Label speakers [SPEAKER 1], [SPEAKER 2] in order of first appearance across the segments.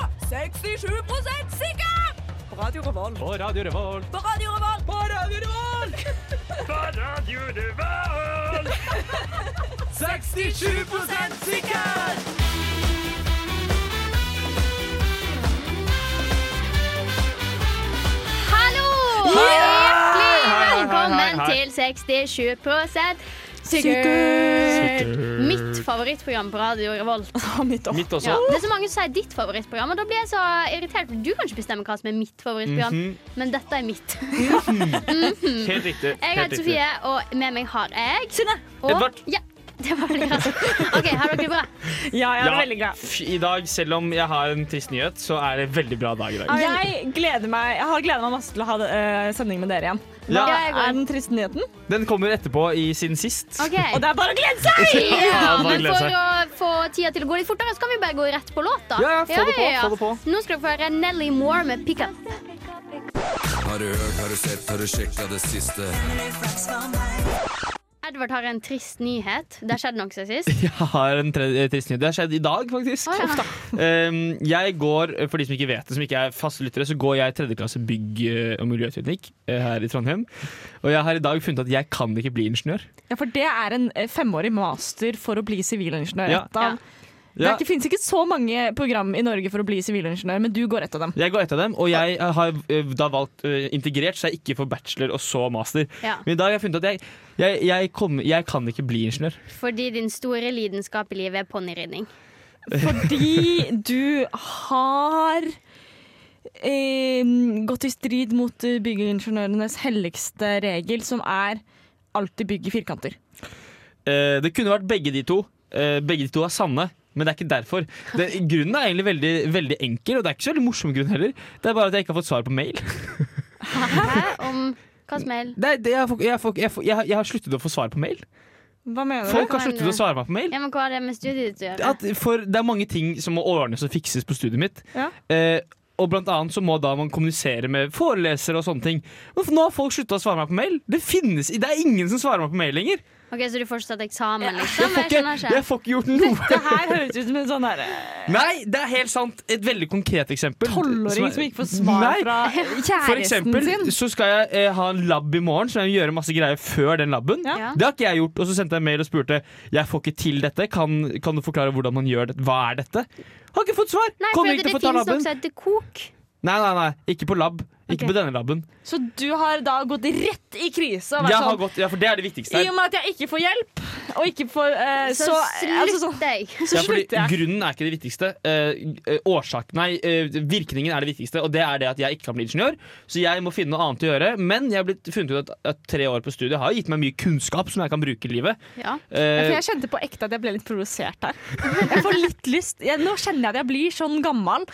[SPEAKER 1] 67 sikker! På Radio Revolt.
[SPEAKER 2] På Radio Revolt.
[SPEAKER 1] På Radio Revolt. På Radio Revolt!
[SPEAKER 2] 67
[SPEAKER 1] sikker!
[SPEAKER 3] Hallo! og
[SPEAKER 2] Hei! Hei,
[SPEAKER 3] Hjertelig
[SPEAKER 2] hei, hei,
[SPEAKER 3] velkommen
[SPEAKER 2] hei, hei.
[SPEAKER 3] til 67 sikkert.
[SPEAKER 2] Sikkert.
[SPEAKER 3] Mitt favorittprogram på Radio Revolt.
[SPEAKER 2] Mitt også.
[SPEAKER 3] Ja, det er så mange som sier ditt favorittprogram, og da blir jeg så irritert. for Du kan ikke bestemme hva som er mitt favorittprogram,
[SPEAKER 2] Mhm.
[SPEAKER 3] men dette er mitt.
[SPEAKER 2] Helt riktig.
[SPEAKER 3] Jeg
[SPEAKER 2] helt
[SPEAKER 3] heter
[SPEAKER 2] riktig.
[SPEAKER 3] Sofie, og med meg har jeg
[SPEAKER 1] Synne.
[SPEAKER 3] og
[SPEAKER 2] Edvard.
[SPEAKER 3] Ja, det var det. altså. OK, har dere det bra?
[SPEAKER 1] Ja, jeg er
[SPEAKER 2] Ja,
[SPEAKER 1] veldig glad.
[SPEAKER 2] f- I dag, selv om jeg har en trist nyhet, så er det veldig bra dag i dag.
[SPEAKER 1] Jeg gleder meg Jeg har gleda meg masse til å ha eh, sending med dere igjen.
[SPEAKER 2] Ja.
[SPEAKER 1] Hva
[SPEAKER 3] Ja, jeg går.
[SPEAKER 1] er den triste nyheten?
[SPEAKER 2] Den kommer etterpå i siden sist.
[SPEAKER 3] Ok.
[SPEAKER 1] Og det er bare å glede seg!
[SPEAKER 3] Ja,
[SPEAKER 2] Bare
[SPEAKER 3] men
[SPEAKER 2] glede
[SPEAKER 3] for
[SPEAKER 2] seg.
[SPEAKER 3] å få tida til å gå litt fortere, så kan vi bare gå rett på låt, da.
[SPEAKER 2] Ja, ja, få det på, få det på.
[SPEAKER 3] Nå skal dere få høre Nelly Moore med 'Pick Up'.
[SPEAKER 4] Har du hørt, har du sett, har du sjekka det siste?
[SPEAKER 3] Edvard har en trist nyhet. Det har skjedd noe siden sist.
[SPEAKER 2] Jeg har en tre eh, trist nyhet. Det har skjedd i dag, faktisk.
[SPEAKER 3] Å, ja.
[SPEAKER 2] Uff da. Um, jeg går, eh, For de som ikke vet det, som ikke er faste lyttere, så går jeg tredje klasse bygg eh, og miljøteknikk eh, her i Trondheim. Og jeg har i dag funnet at jeg kan ikke bli ingeniør.
[SPEAKER 1] Ja, for det er en eh, femårig master for å bli sivilingeniør.
[SPEAKER 2] Ja.
[SPEAKER 1] Et av- Det
[SPEAKER 2] Ja,
[SPEAKER 1] er ikke- finnes ikke så mange program i Norge for å bli sivilingeniør, men du går et av dem.
[SPEAKER 2] jeg går etter dem, og jeg har eh, da valgt eh, integrert, så jeg ikke får bachelor og så master.
[SPEAKER 3] Ja.
[SPEAKER 2] Men i dag har jeg funnet at jeg, jeg, jeg, kommer- jeg kan ikke bli ingeniør.
[SPEAKER 3] Fordi din store lidenskap i livet er ponniridning.
[SPEAKER 1] Fordi du har eh, gått i strid mot eh, byggeingeniørenes helligste regel, som er alltid bygg i firkanter.
[SPEAKER 2] Eh, det kunne vært begge de to. Eh, begge de to er sanne, men det er ikke derfor. Det, grunnen er egentlig veldig, veldig enkel, og det er ikke så veldig morsom grunn heller. Det er bare at jeg ikke har fått svar på mail.
[SPEAKER 3] Hæ? Om hva som helst.
[SPEAKER 2] Det, er- det, jeg, får, jeg, får, jeg, får, jeg, har- jeg har sluttet å få svar på mail.
[SPEAKER 1] Hva mener
[SPEAKER 2] Folk
[SPEAKER 1] du?
[SPEAKER 2] har sluttet å svare meg på mail.
[SPEAKER 3] Ja, men hva har det med studiet ditt å gjøre?
[SPEAKER 2] At for det er mange ting som må ordnes og fikses på studiet mitt.
[SPEAKER 1] Ja.
[SPEAKER 2] Eh, og blant annet så må da man kommunisere med forelesere og sånne ting. Men nå har folk slutta å svare meg på mail. Det finnes, det er ingen som svarer meg på mail lenger.
[SPEAKER 3] Ok, Så du får ikke tatt eksamen,
[SPEAKER 2] Jeg
[SPEAKER 3] liksom?
[SPEAKER 2] får
[SPEAKER 3] Jeg
[SPEAKER 2] ikke,
[SPEAKER 3] skjønner
[SPEAKER 2] jeg
[SPEAKER 3] ikke.
[SPEAKER 2] får ikke gjort noe.
[SPEAKER 1] Det her høres ut som en sånn derre
[SPEAKER 2] Nei, det er helt sant. Et veldig konkret eksempel.
[SPEAKER 1] tolvåring
[SPEAKER 2] er-
[SPEAKER 1] som ikke får svar
[SPEAKER 2] Nei.
[SPEAKER 1] fra kjæresten
[SPEAKER 2] For eksempel
[SPEAKER 1] sin.
[SPEAKER 2] så skal jeg eh, ha en lab i morgen, så jeg må gjøre masse greier før den laben.
[SPEAKER 1] Ja.
[SPEAKER 3] Ja.
[SPEAKER 2] Det har ikke jeg gjort. Og så sendte jeg mail og spurte Jeg får ikke til dette. Kan, kan du forklare hvordan man gjør det? Hva er dette? Har ikke fått svar!
[SPEAKER 3] Nei, for
[SPEAKER 2] Kommer
[SPEAKER 3] det
[SPEAKER 2] ikke til å få ta
[SPEAKER 3] finnes noe
[SPEAKER 2] laben.
[SPEAKER 3] som heter kok.
[SPEAKER 2] Nei, nei, nei. Ikke på lab. Ikke
[SPEAKER 3] Ok.
[SPEAKER 2] på denne laben.
[SPEAKER 1] Så du har da gått rett i krise
[SPEAKER 2] Jeg
[SPEAKER 1] og vært
[SPEAKER 2] har
[SPEAKER 1] sånn
[SPEAKER 2] gått, ja, for det er det viktigste
[SPEAKER 1] I
[SPEAKER 2] her.
[SPEAKER 1] og med at jeg ikke får hjelp, og ikke får eh,
[SPEAKER 3] Så
[SPEAKER 1] Så, altså, sånn-
[SPEAKER 3] slutt deg.
[SPEAKER 2] Ja,
[SPEAKER 1] så
[SPEAKER 2] fordi
[SPEAKER 1] slutter jeg.
[SPEAKER 2] grunnen er ikke det viktigste. Eh, eh, årsak, nei, eh, virkningen er det viktigste, og det er det at jeg ikke kan bli ingeniør. Så jeg må finne noe annet å gjøre. Men jeg har blitt funnet ut at, at tre år på studiet har gitt meg mye kunnskap som jeg kan bruke i livet.
[SPEAKER 3] Ja.
[SPEAKER 1] Ja,
[SPEAKER 2] Eh,
[SPEAKER 1] for jeg kjente på ekte at jeg ble litt provosert her. Jeg får litt lyst jeg, Nå kjenner jeg at jeg blir sånn gammel.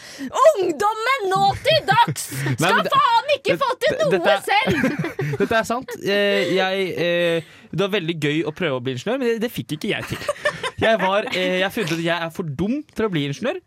[SPEAKER 1] Ungdommen nå til dags
[SPEAKER 2] Nei,
[SPEAKER 1] skal
[SPEAKER 2] men det-
[SPEAKER 1] faen ikke
[SPEAKER 2] det-
[SPEAKER 1] få til
[SPEAKER 2] det-
[SPEAKER 1] noe
[SPEAKER 2] dette-
[SPEAKER 1] selv!
[SPEAKER 2] dette er sant. Eh, jeg, eh, det var veldig gøy å prøve å bli ingeniør, men det, det fikk ikke jeg til. Jeg, var, eh, jeg funnet ut at jeg er for dum til å bli ingeniør,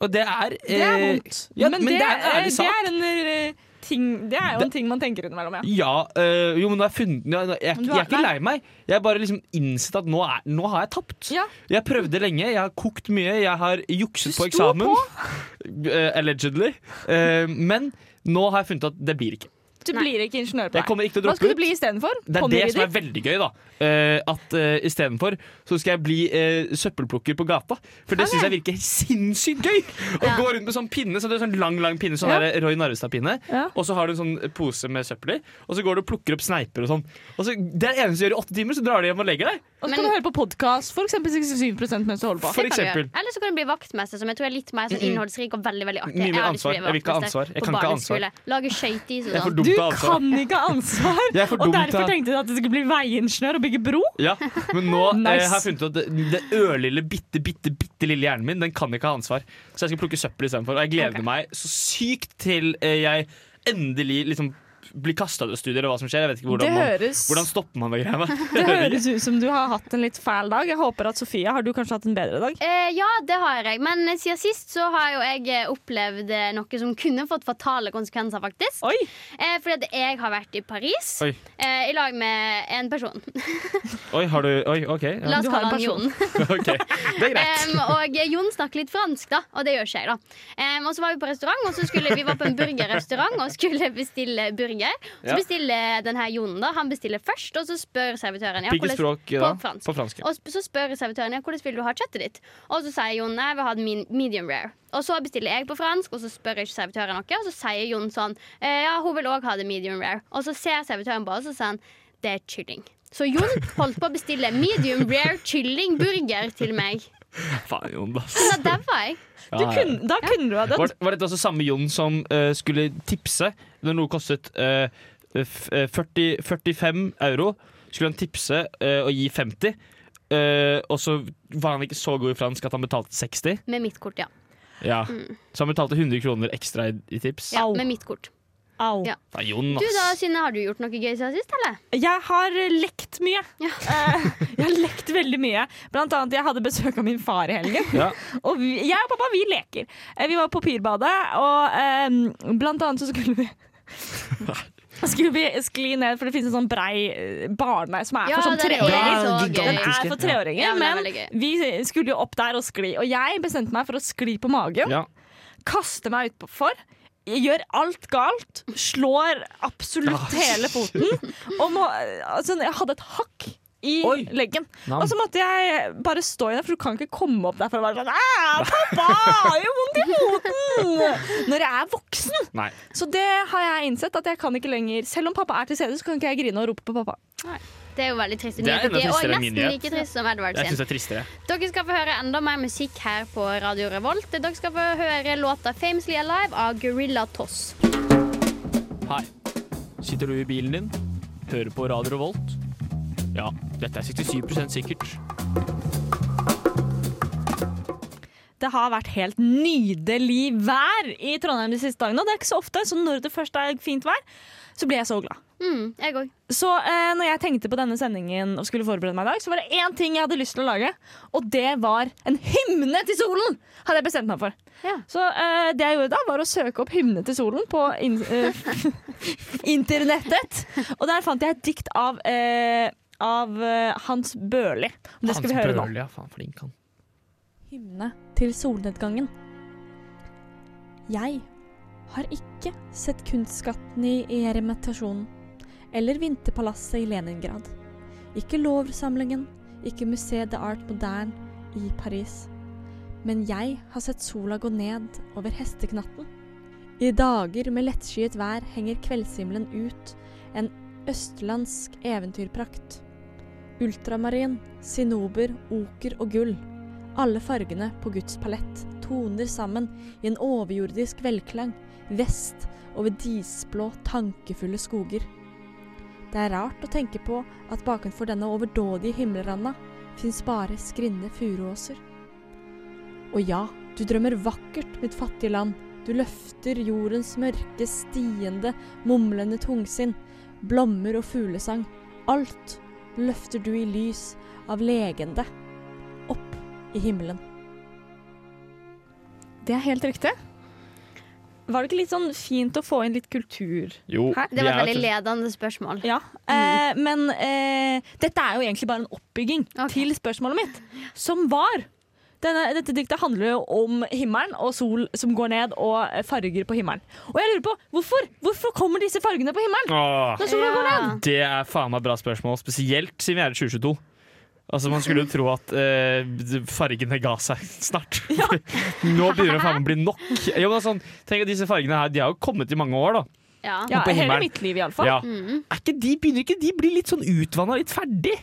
[SPEAKER 2] og det er
[SPEAKER 1] Det er
[SPEAKER 2] eh,
[SPEAKER 1] vondt.
[SPEAKER 2] Ja,
[SPEAKER 1] men,
[SPEAKER 2] men
[SPEAKER 1] det,
[SPEAKER 2] det er en ærlig
[SPEAKER 1] eh, det
[SPEAKER 2] sak.
[SPEAKER 1] er en eh, ting Det er jo en ting man tenker innimellom, ja.
[SPEAKER 2] Ja, øh, jo, men nå har jeg funnet ja, nå- jeg, er
[SPEAKER 1] Men
[SPEAKER 2] ikke-
[SPEAKER 1] du
[SPEAKER 2] jeg
[SPEAKER 1] har-
[SPEAKER 2] er ikke lei meg. Jeg har bare liksom innsett at nå, er, nå har jeg tapt.
[SPEAKER 1] Ja.
[SPEAKER 2] Jeg prøvde lenge, jeg har kokt mye, jeg har jukset
[SPEAKER 1] Du
[SPEAKER 2] på
[SPEAKER 1] sto
[SPEAKER 2] eksamen. Eh, allegedly. Eh, men nå har jeg funnet at det blir ikke.
[SPEAKER 1] Du
[SPEAKER 3] Nei.
[SPEAKER 1] blir ikke ingeniør på
[SPEAKER 2] Jeg kommer ikke til å
[SPEAKER 1] Hva
[SPEAKER 2] droppe
[SPEAKER 1] skal
[SPEAKER 2] ut.
[SPEAKER 1] du bli istedenfor?
[SPEAKER 2] Det er det som er
[SPEAKER 1] Ponniridder?
[SPEAKER 2] veldig gøy, da. Eh, at uh, istedenfor så skal jeg bli eh, søppelplukker på gata. For det syns jeg virker sinnssykt gøy! Å
[SPEAKER 3] Ja.
[SPEAKER 2] gå rundt med sånn pinne, så det er sånn lang lang pinne, sånn
[SPEAKER 1] Ja.
[SPEAKER 2] der Roy Narvestad-pinne.
[SPEAKER 1] Ja.
[SPEAKER 2] Og så har du en sånn pose med søppel i, og så går du og plukker opp sneiper og sånn. Og så, det er det eneste du gjør i åtte timer, så drar du hjem og legger deg.
[SPEAKER 1] Og så
[SPEAKER 3] Men-
[SPEAKER 1] kan du høre på podkast, f.eks. 67 mens du holder på.
[SPEAKER 2] For
[SPEAKER 3] Det kan du gjøre.
[SPEAKER 2] eksempel.
[SPEAKER 3] Eller så kan du bli vaktmester, som jeg tror er litt mer sånn innholdsrik og veldig veldig artig.
[SPEAKER 2] Mye mer
[SPEAKER 3] Jeg har lyst
[SPEAKER 2] ansvar.
[SPEAKER 3] til å bli
[SPEAKER 2] Jeg vil ikke ha
[SPEAKER 3] vaktmester
[SPEAKER 2] ansvar. Jeg
[SPEAKER 3] på
[SPEAKER 2] kan ikke ha ansvar.
[SPEAKER 3] barneskole. Lage skøyteis og
[SPEAKER 2] Jeg er for
[SPEAKER 3] sånn.
[SPEAKER 2] dum
[SPEAKER 1] Du
[SPEAKER 2] til ansvar.
[SPEAKER 1] kan ikke ha ansvar!
[SPEAKER 2] Jeg er for altså. dum
[SPEAKER 1] Og
[SPEAKER 2] til
[SPEAKER 1] derfor
[SPEAKER 2] å-
[SPEAKER 1] tenkte du at du skulle bli veiingeniør og bygge bro?
[SPEAKER 2] Ja, Men nå eh,
[SPEAKER 1] Nice.
[SPEAKER 2] har jeg funnet ut at det, det ørlille, bitte, bitte bitte lille hjernen min Den kan ikke ha ansvar. Så jeg skal plukke søppel istedenfor. Og jeg gleder meg så sykt til eh, jeg endelig liksom blir kasta ut av studiet, eller hva som skjer. Jeg vet ikke
[SPEAKER 1] det
[SPEAKER 2] hvordan, man,
[SPEAKER 1] høres,
[SPEAKER 2] hvordan stopper man det greiene.
[SPEAKER 1] det høres ut som du har hatt en litt fæl dag. Jeg håper at Sofia har du kanskje hatt en bedre dag.
[SPEAKER 3] Eh, ja, det har jeg. Men siden sist så har jo jeg eh, opplevd eh, noe som kunne fått fatale konsekvenser, faktisk.
[SPEAKER 1] Oi!
[SPEAKER 3] Eh, fordi at jeg har vært i Paris
[SPEAKER 2] Oi.
[SPEAKER 3] eh, i lag med en person.
[SPEAKER 2] Oi, har du Oi, OK. Ja.
[SPEAKER 3] La oss
[SPEAKER 1] Du har
[SPEAKER 3] kalle
[SPEAKER 1] en
[SPEAKER 3] han
[SPEAKER 1] person.
[SPEAKER 3] Jon.
[SPEAKER 2] Ok, Det er greit.
[SPEAKER 3] Em, og Jon snakker litt fransk, da, og det gjør ikke jeg. da. Em, og så var vi på restaurant, og så skulle vi var på en burgerrestaurant og skulle bestille burger. Så
[SPEAKER 2] Ja.
[SPEAKER 3] bestiller den her Jon, da. Han bestiller først, og så spør servitøren.
[SPEAKER 2] Hvilket
[SPEAKER 3] hvordan-
[SPEAKER 2] språk da?
[SPEAKER 3] På fransk.
[SPEAKER 2] På fransk. ja.
[SPEAKER 3] Og sp- så spør servitøren ja, hvordan vil du ha kjøttet ditt. Og så sier Jon nei, jeg vil ha den min- medium rare. Og så bestiller jeg på fransk, og så spør ikke servitøren noe. Og så sier Jon sånn «Eh, ja, hun vil òg ha det medium rare. Og så ser servitøren på oss og sier han, det er kylling. Så Jon holdt på å bestille medium rare kyllingburger til meg.
[SPEAKER 2] Faen, Jon, ass.
[SPEAKER 3] Så da daua jeg.
[SPEAKER 1] Du
[SPEAKER 2] Ja, ja.
[SPEAKER 1] kunne, da kunne du ha dødd.
[SPEAKER 2] Var, var dette altså samme Jon som eh, skulle tipse når noe kostet eh, f- eh, 40, 45 euro? Skulle han tipse eh, og gi 50? eh, og så var han ikke så god i fransk at han betalte 60.
[SPEAKER 3] Med mitt kort, ja.
[SPEAKER 2] Ja. Så han betalte 100 kroner ekstra i, i tips.
[SPEAKER 3] Mm. ja
[SPEAKER 1] Au.
[SPEAKER 3] med mitt kort.
[SPEAKER 1] Au.
[SPEAKER 3] Ja.
[SPEAKER 2] Faen, Jon,
[SPEAKER 3] Du da,
[SPEAKER 2] ass.
[SPEAKER 3] Synne, har du gjort noe gøy siden sist, eller?
[SPEAKER 1] Jeg har lekt mye.
[SPEAKER 3] Ja.
[SPEAKER 1] Eh, Jeg har lekt veldig mye. Blant annet, jeg hadde besøk av min far i helgen.
[SPEAKER 2] Ja.
[SPEAKER 1] Og vi, jeg og pappa, vi leker. Eh, Vi var på Pirbadet, og eh, blant annet så skulle vi Skulle vi skli ned, for det finnes en sånn brei eh, barne som er
[SPEAKER 3] Ja,
[SPEAKER 1] for sånn
[SPEAKER 3] den er
[SPEAKER 1] treåringer.
[SPEAKER 3] så
[SPEAKER 2] Ja,
[SPEAKER 1] Den
[SPEAKER 3] gøy.
[SPEAKER 2] gigantisk.
[SPEAKER 1] er for treåringer,
[SPEAKER 3] Ja, men
[SPEAKER 1] men
[SPEAKER 3] det er veldig
[SPEAKER 1] vi skulle jo opp der og skli. Og jeg bestemte meg for å skli på magen
[SPEAKER 2] Ja.
[SPEAKER 1] kaster meg utfor. Jeg gjør alt galt. Slår absolutt
[SPEAKER 2] Ja.
[SPEAKER 1] hele foten. Og må, altså, jeg hadde et hakk i
[SPEAKER 2] Oi.
[SPEAKER 1] leggen.
[SPEAKER 2] Nam.
[SPEAKER 1] Og så måtte jeg bare stå i den, for du kan ikke komme opp der for å være sånn «Æ, Pappa, jeg har jo vondt i foten! Når jeg er voksen.
[SPEAKER 2] Nei.
[SPEAKER 1] Så det har jeg innsett at jeg kan ikke lenger. Selv om pappa er til stede, så kan ikke jeg grine og rope på pappa.
[SPEAKER 3] Det er jo veldig trist.
[SPEAKER 2] Det er enda
[SPEAKER 3] nyheter. De er også
[SPEAKER 2] tristere enn min
[SPEAKER 3] nesten
[SPEAKER 2] nyhet.
[SPEAKER 3] like trist som Edward
[SPEAKER 2] Jeg
[SPEAKER 3] sin.
[SPEAKER 2] syns det er tristere.
[SPEAKER 3] Dere skal få høre enda mer musikk her på Radio Revolt. Dere skal få høre låta 'Famously Alive' av Gorilla Toss.
[SPEAKER 2] Hei. Sitter du i bilen din? Hører på Radio Revolt? Ja, dette er 67 sikkert.
[SPEAKER 1] Det har vært helt nydelig vær i Trondheim de siste dagene. Og det er ikke så ofte, så når det først er fint vær, så blir jeg så glad.
[SPEAKER 3] Mm, jeg òg.
[SPEAKER 1] Så eh, når jeg tenkte på denne sendingen og skulle forberede meg i dag, så var det én ting jeg hadde lyst til å lage, og det var en hymne til solen! Hadde jeg bestemt meg for.
[SPEAKER 3] Ja.
[SPEAKER 1] Så eh, det jeg gjorde da, var å søke opp hymne til solen på in eh, internettet. Og der fant jeg et dikt av, eh, av eh, Hans Børli. Og det skal vi høre nå.
[SPEAKER 2] Ja, faen, flink han.
[SPEAKER 5] Hymne til solnedgangen. Jeg har ikke sett kunstskatten i Eremitasjonen eller Vinterpalasset i Leningrad. Ikke Louvre-samlingen, ikke Musée de Art Moderne i Paris. Men jeg har sett sola gå ned over hesteknatten. I dager med lettskyet vær henger kveldshimmelen ut en østlandsk eventyrprakt. Ultramarin, sinober, oker og gull. Alle fargene på Guds palett toner sammen i en overjordisk velklang vest over disblå, tankefulle skoger. Det er rart å tenke på at bakenfor denne overdådige himmelranda fins bare skrinne furuåser. Og ja, du drømmer vakkert, mitt fattige land. Du løfter jordens mørke, stiende, mumlende tungsinn. Blommer og fuglesang. Alt løfter du i lys av legende. Opp i himmelen.
[SPEAKER 1] Det er helt riktig. Var det ikke litt sånn fint å få inn litt kultur?
[SPEAKER 2] Jo,
[SPEAKER 1] Hæ?
[SPEAKER 3] Det var et veldig ledende spørsmål.
[SPEAKER 1] Ja,
[SPEAKER 2] Mm.
[SPEAKER 1] eh, men eh, dette er jo egentlig bare en oppbygging
[SPEAKER 3] Ok.
[SPEAKER 1] til spørsmålet mitt, som var denne, Dette diktet handler jo om himmelen og sol som går ned, og eh, farger på himmelen. Og jeg lurer på, hvorfor, hvorfor kommer disse fargene på himmelen?
[SPEAKER 2] Åh,
[SPEAKER 1] Når sola går ned?
[SPEAKER 2] det er faen meg bra spørsmål, spesielt siden vi er i 2022. Altså, Man skulle jo tro at eh, fargene ga seg snart. Nå begynner det faen meg å bli nok. Jo, men sånn, tenk at Disse fargene her, de har jo kommet i mange år, da.
[SPEAKER 3] Ja.
[SPEAKER 1] Ja,
[SPEAKER 2] på
[SPEAKER 1] hele
[SPEAKER 2] himmelen.
[SPEAKER 1] mitt liv, iallfall.
[SPEAKER 2] Ja.
[SPEAKER 3] Mm.
[SPEAKER 2] Er ikke de, begynner ikke de å bli litt sånn utvanna, litt ferdig?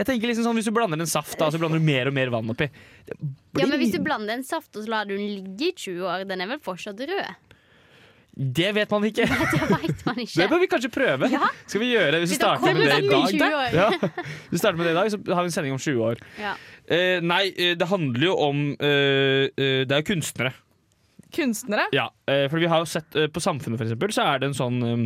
[SPEAKER 2] Jeg tenker liksom sånn, Hvis du blander en saft, da, så blander du mer og mer vann oppi. Det blir-
[SPEAKER 3] ja, men Hvis du blander en saft og så lar du den ligge i 20 år, den er vel fortsatt rød?
[SPEAKER 2] Det vet man ikke.
[SPEAKER 3] Det veit man
[SPEAKER 2] Det
[SPEAKER 3] ikke.
[SPEAKER 2] bør vi kanskje prøve. Skal vi gjøre det hvis vi
[SPEAKER 3] Vi tar
[SPEAKER 2] starter med det i
[SPEAKER 3] kobbel
[SPEAKER 2] dag?
[SPEAKER 3] sammen i 20 år.
[SPEAKER 2] Ja. Hvis vi starter med det i dag, så har vi en sending om 20 år.
[SPEAKER 3] Ja.
[SPEAKER 2] Eh, nei, eh, det handler jo om eh, eh, Det er jo kunstnere.
[SPEAKER 1] Kunstnere.
[SPEAKER 2] Ja, eh, for vi har jo sett eh, På Samfunnet, for eksempel, så er det en sånn eh,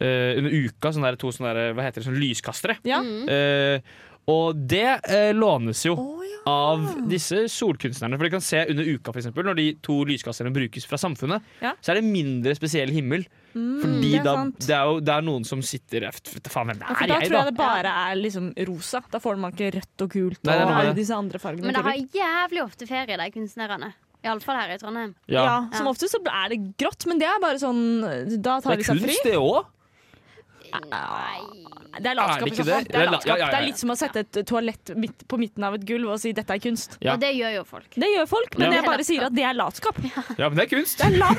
[SPEAKER 2] eh, under uka. Sånne der, to sånne der, hva heter det, sånn lyskastere.
[SPEAKER 1] Ja.
[SPEAKER 3] Mm.
[SPEAKER 2] Eh, og det eh, lånes jo
[SPEAKER 5] ja.
[SPEAKER 2] av disse solkunstnerne. For du kan se under uka, for eksempel, når de to lyskasterne brukes fra samfunnet,
[SPEAKER 1] Ja.
[SPEAKER 2] så er det mindre spesiell himmel.
[SPEAKER 1] Mm,
[SPEAKER 2] Fordi
[SPEAKER 1] det er
[SPEAKER 2] da,
[SPEAKER 1] sant.
[SPEAKER 2] det er jo det er noen som sitter Jeg vet da faen hvem det
[SPEAKER 1] Ja,
[SPEAKER 2] er,
[SPEAKER 1] for da
[SPEAKER 2] jeg,
[SPEAKER 1] tror jeg
[SPEAKER 2] da.
[SPEAKER 1] det bare er liksom rosa. Da får man ikke rødt og
[SPEAKER 2] Nei,
[SPEAKER 1] gult
[SPEAKER 2] det er
[SPEAKER 1] og
[SPEAKER 2] noe med
[SPEAKER 1] alle
[SPEAKER 2] det.
[SPEAKER 1] disse andre fargene.
[SPEAKER 3] Men det
[SPEAKER 1] til.
[SPEAKER 3] har jævlig ofte ferie, de kunstnerne. Iallfall her i Trondheim.
[SPEAKER 1] ja.
[SPEAKER 2] Ja.
[SPEAKER 1] Som
[SPEAKER 3] Ja.
[SPEAKER 1] ofte så er det grått, men det er bare sånn Da
[SPEAKER 2] Det
[SPEAKER 1] tar
[SPEAKER 2] er
[SPEAKER 1] de seg fri.
[SPEAKER 2] kunst, det òg.
[SPEAKER 3] Nei.
[SPEAKER 1] Det er
[SPEAKER 2] Er
[SPEAKER 1] latskap.
[SPEAKER 2] det
[SPEAKER 1] i
[SPEAKER 2] ikke
[SPEAKER 1] så fall.
[SPEAKER 2] det?
[SPEAKER 1] Ah. Det
[SPEAKER 2] Det
[SPEAKER 1] er
[SPEAKER 2] er la-
[SPEAKER 1] latskap.
[SPEAKER 2] ja, ja, ja,
[SPEAKER 1] Det er
[SPEAKER 2] ja.
[SPEAKER 1] litt som å sette et toalett midt på midten av et gulv og si 'dette er kunst'.
[SPEAKER 2] Ja.
[SPEAKER 3] Og det gjør jo folk.
[SPEAKER 1] Det gjør folk, men
[SPEAKER 2] Ja.
[SPEAKER 1] jeg bare sier at det er latskap.
[SPEAKER 2] Ja, men det er kunst.
[SPEAKER 1] Det er lat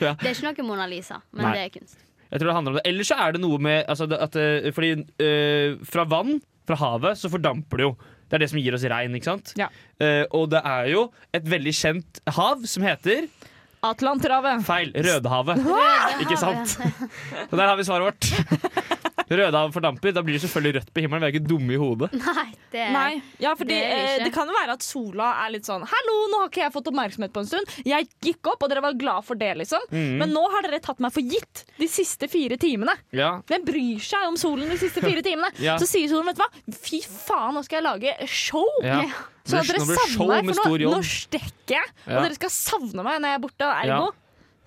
[SPEAKER 2] ja.
[SPEAKER 3] Det er ikke noe Mona Lisa, men
[SPEAKER 2] Nei.
[SPEAKER 3] det er kunst.
[SPEAKER 2] Jeg tror det handler om det. Ellers så er det noe med altså, det- at, eh, Fordi eh, fra vann, fra havet, så fordamper det jo. Det er det som gir oss regn, ikke sant?
[SPEAKER 1] Ja.
[SPEAKER 2] Eh, og det er jo et veldig kjent hav som heter
[SPEAKER 1] Atlanterhavet.
[SPEAKER 2] Feil! Rødehavet. Ikke sant? Og der har vi svaret vårt. Rødehavet fordamper. Da blir det selvfølgelig rødt på himmelen. Vi er ikke dumme i hodet.
[SPEAKER 3] Nei, det er
[SPEAKER 1] Nei. Ja, fordi
[SPEAKER 3] Det
[SPEAKER 1] Eh, det,
[SPEAKER 3] er vi ikke.
[SPEAKER 1] det kan jo være at sola er litt sånn 'Hallo, nå har ikke jeg fått oppmerksomhet på en stund.' Jeg gikk opp, og dere var glad for det, liksom.
[SPEAKER 2] Mm.
[SPEAKER 1] Men nå har dere tatt meg for gitt de siste fire timene.
[SPEAKER 2] Ja.
[SPEAKER 1] Hvem bryr seg om solen de siste fire timene?
[SPEAKER 2] Ja.
[SPEAKER 1] Så sier solen, vet du hva, fy faen, nå skal jeg lage show!
[SPEAKER 2] ja.
[SPEAKER 1] Så at
[SPEAKER 2] Nå blir
[SPEAKER 1] dere
[SPEAKER 2] det show
[SPEAKER 1] savner
[SPEAKER 2] med
[SPEAKER 1] meg, for
[SPEAKER 2] stor
[SPEAKER 1] nå,
[SPEAKER 2] jobb.
[SPEAKER 1] nå stikker jeg. Og
[SPEAKER 2] Ja.
[SPEAKER 1] dere skal savne meg når jeg er borte. og Ergo
[SPEAKER 2] Ja.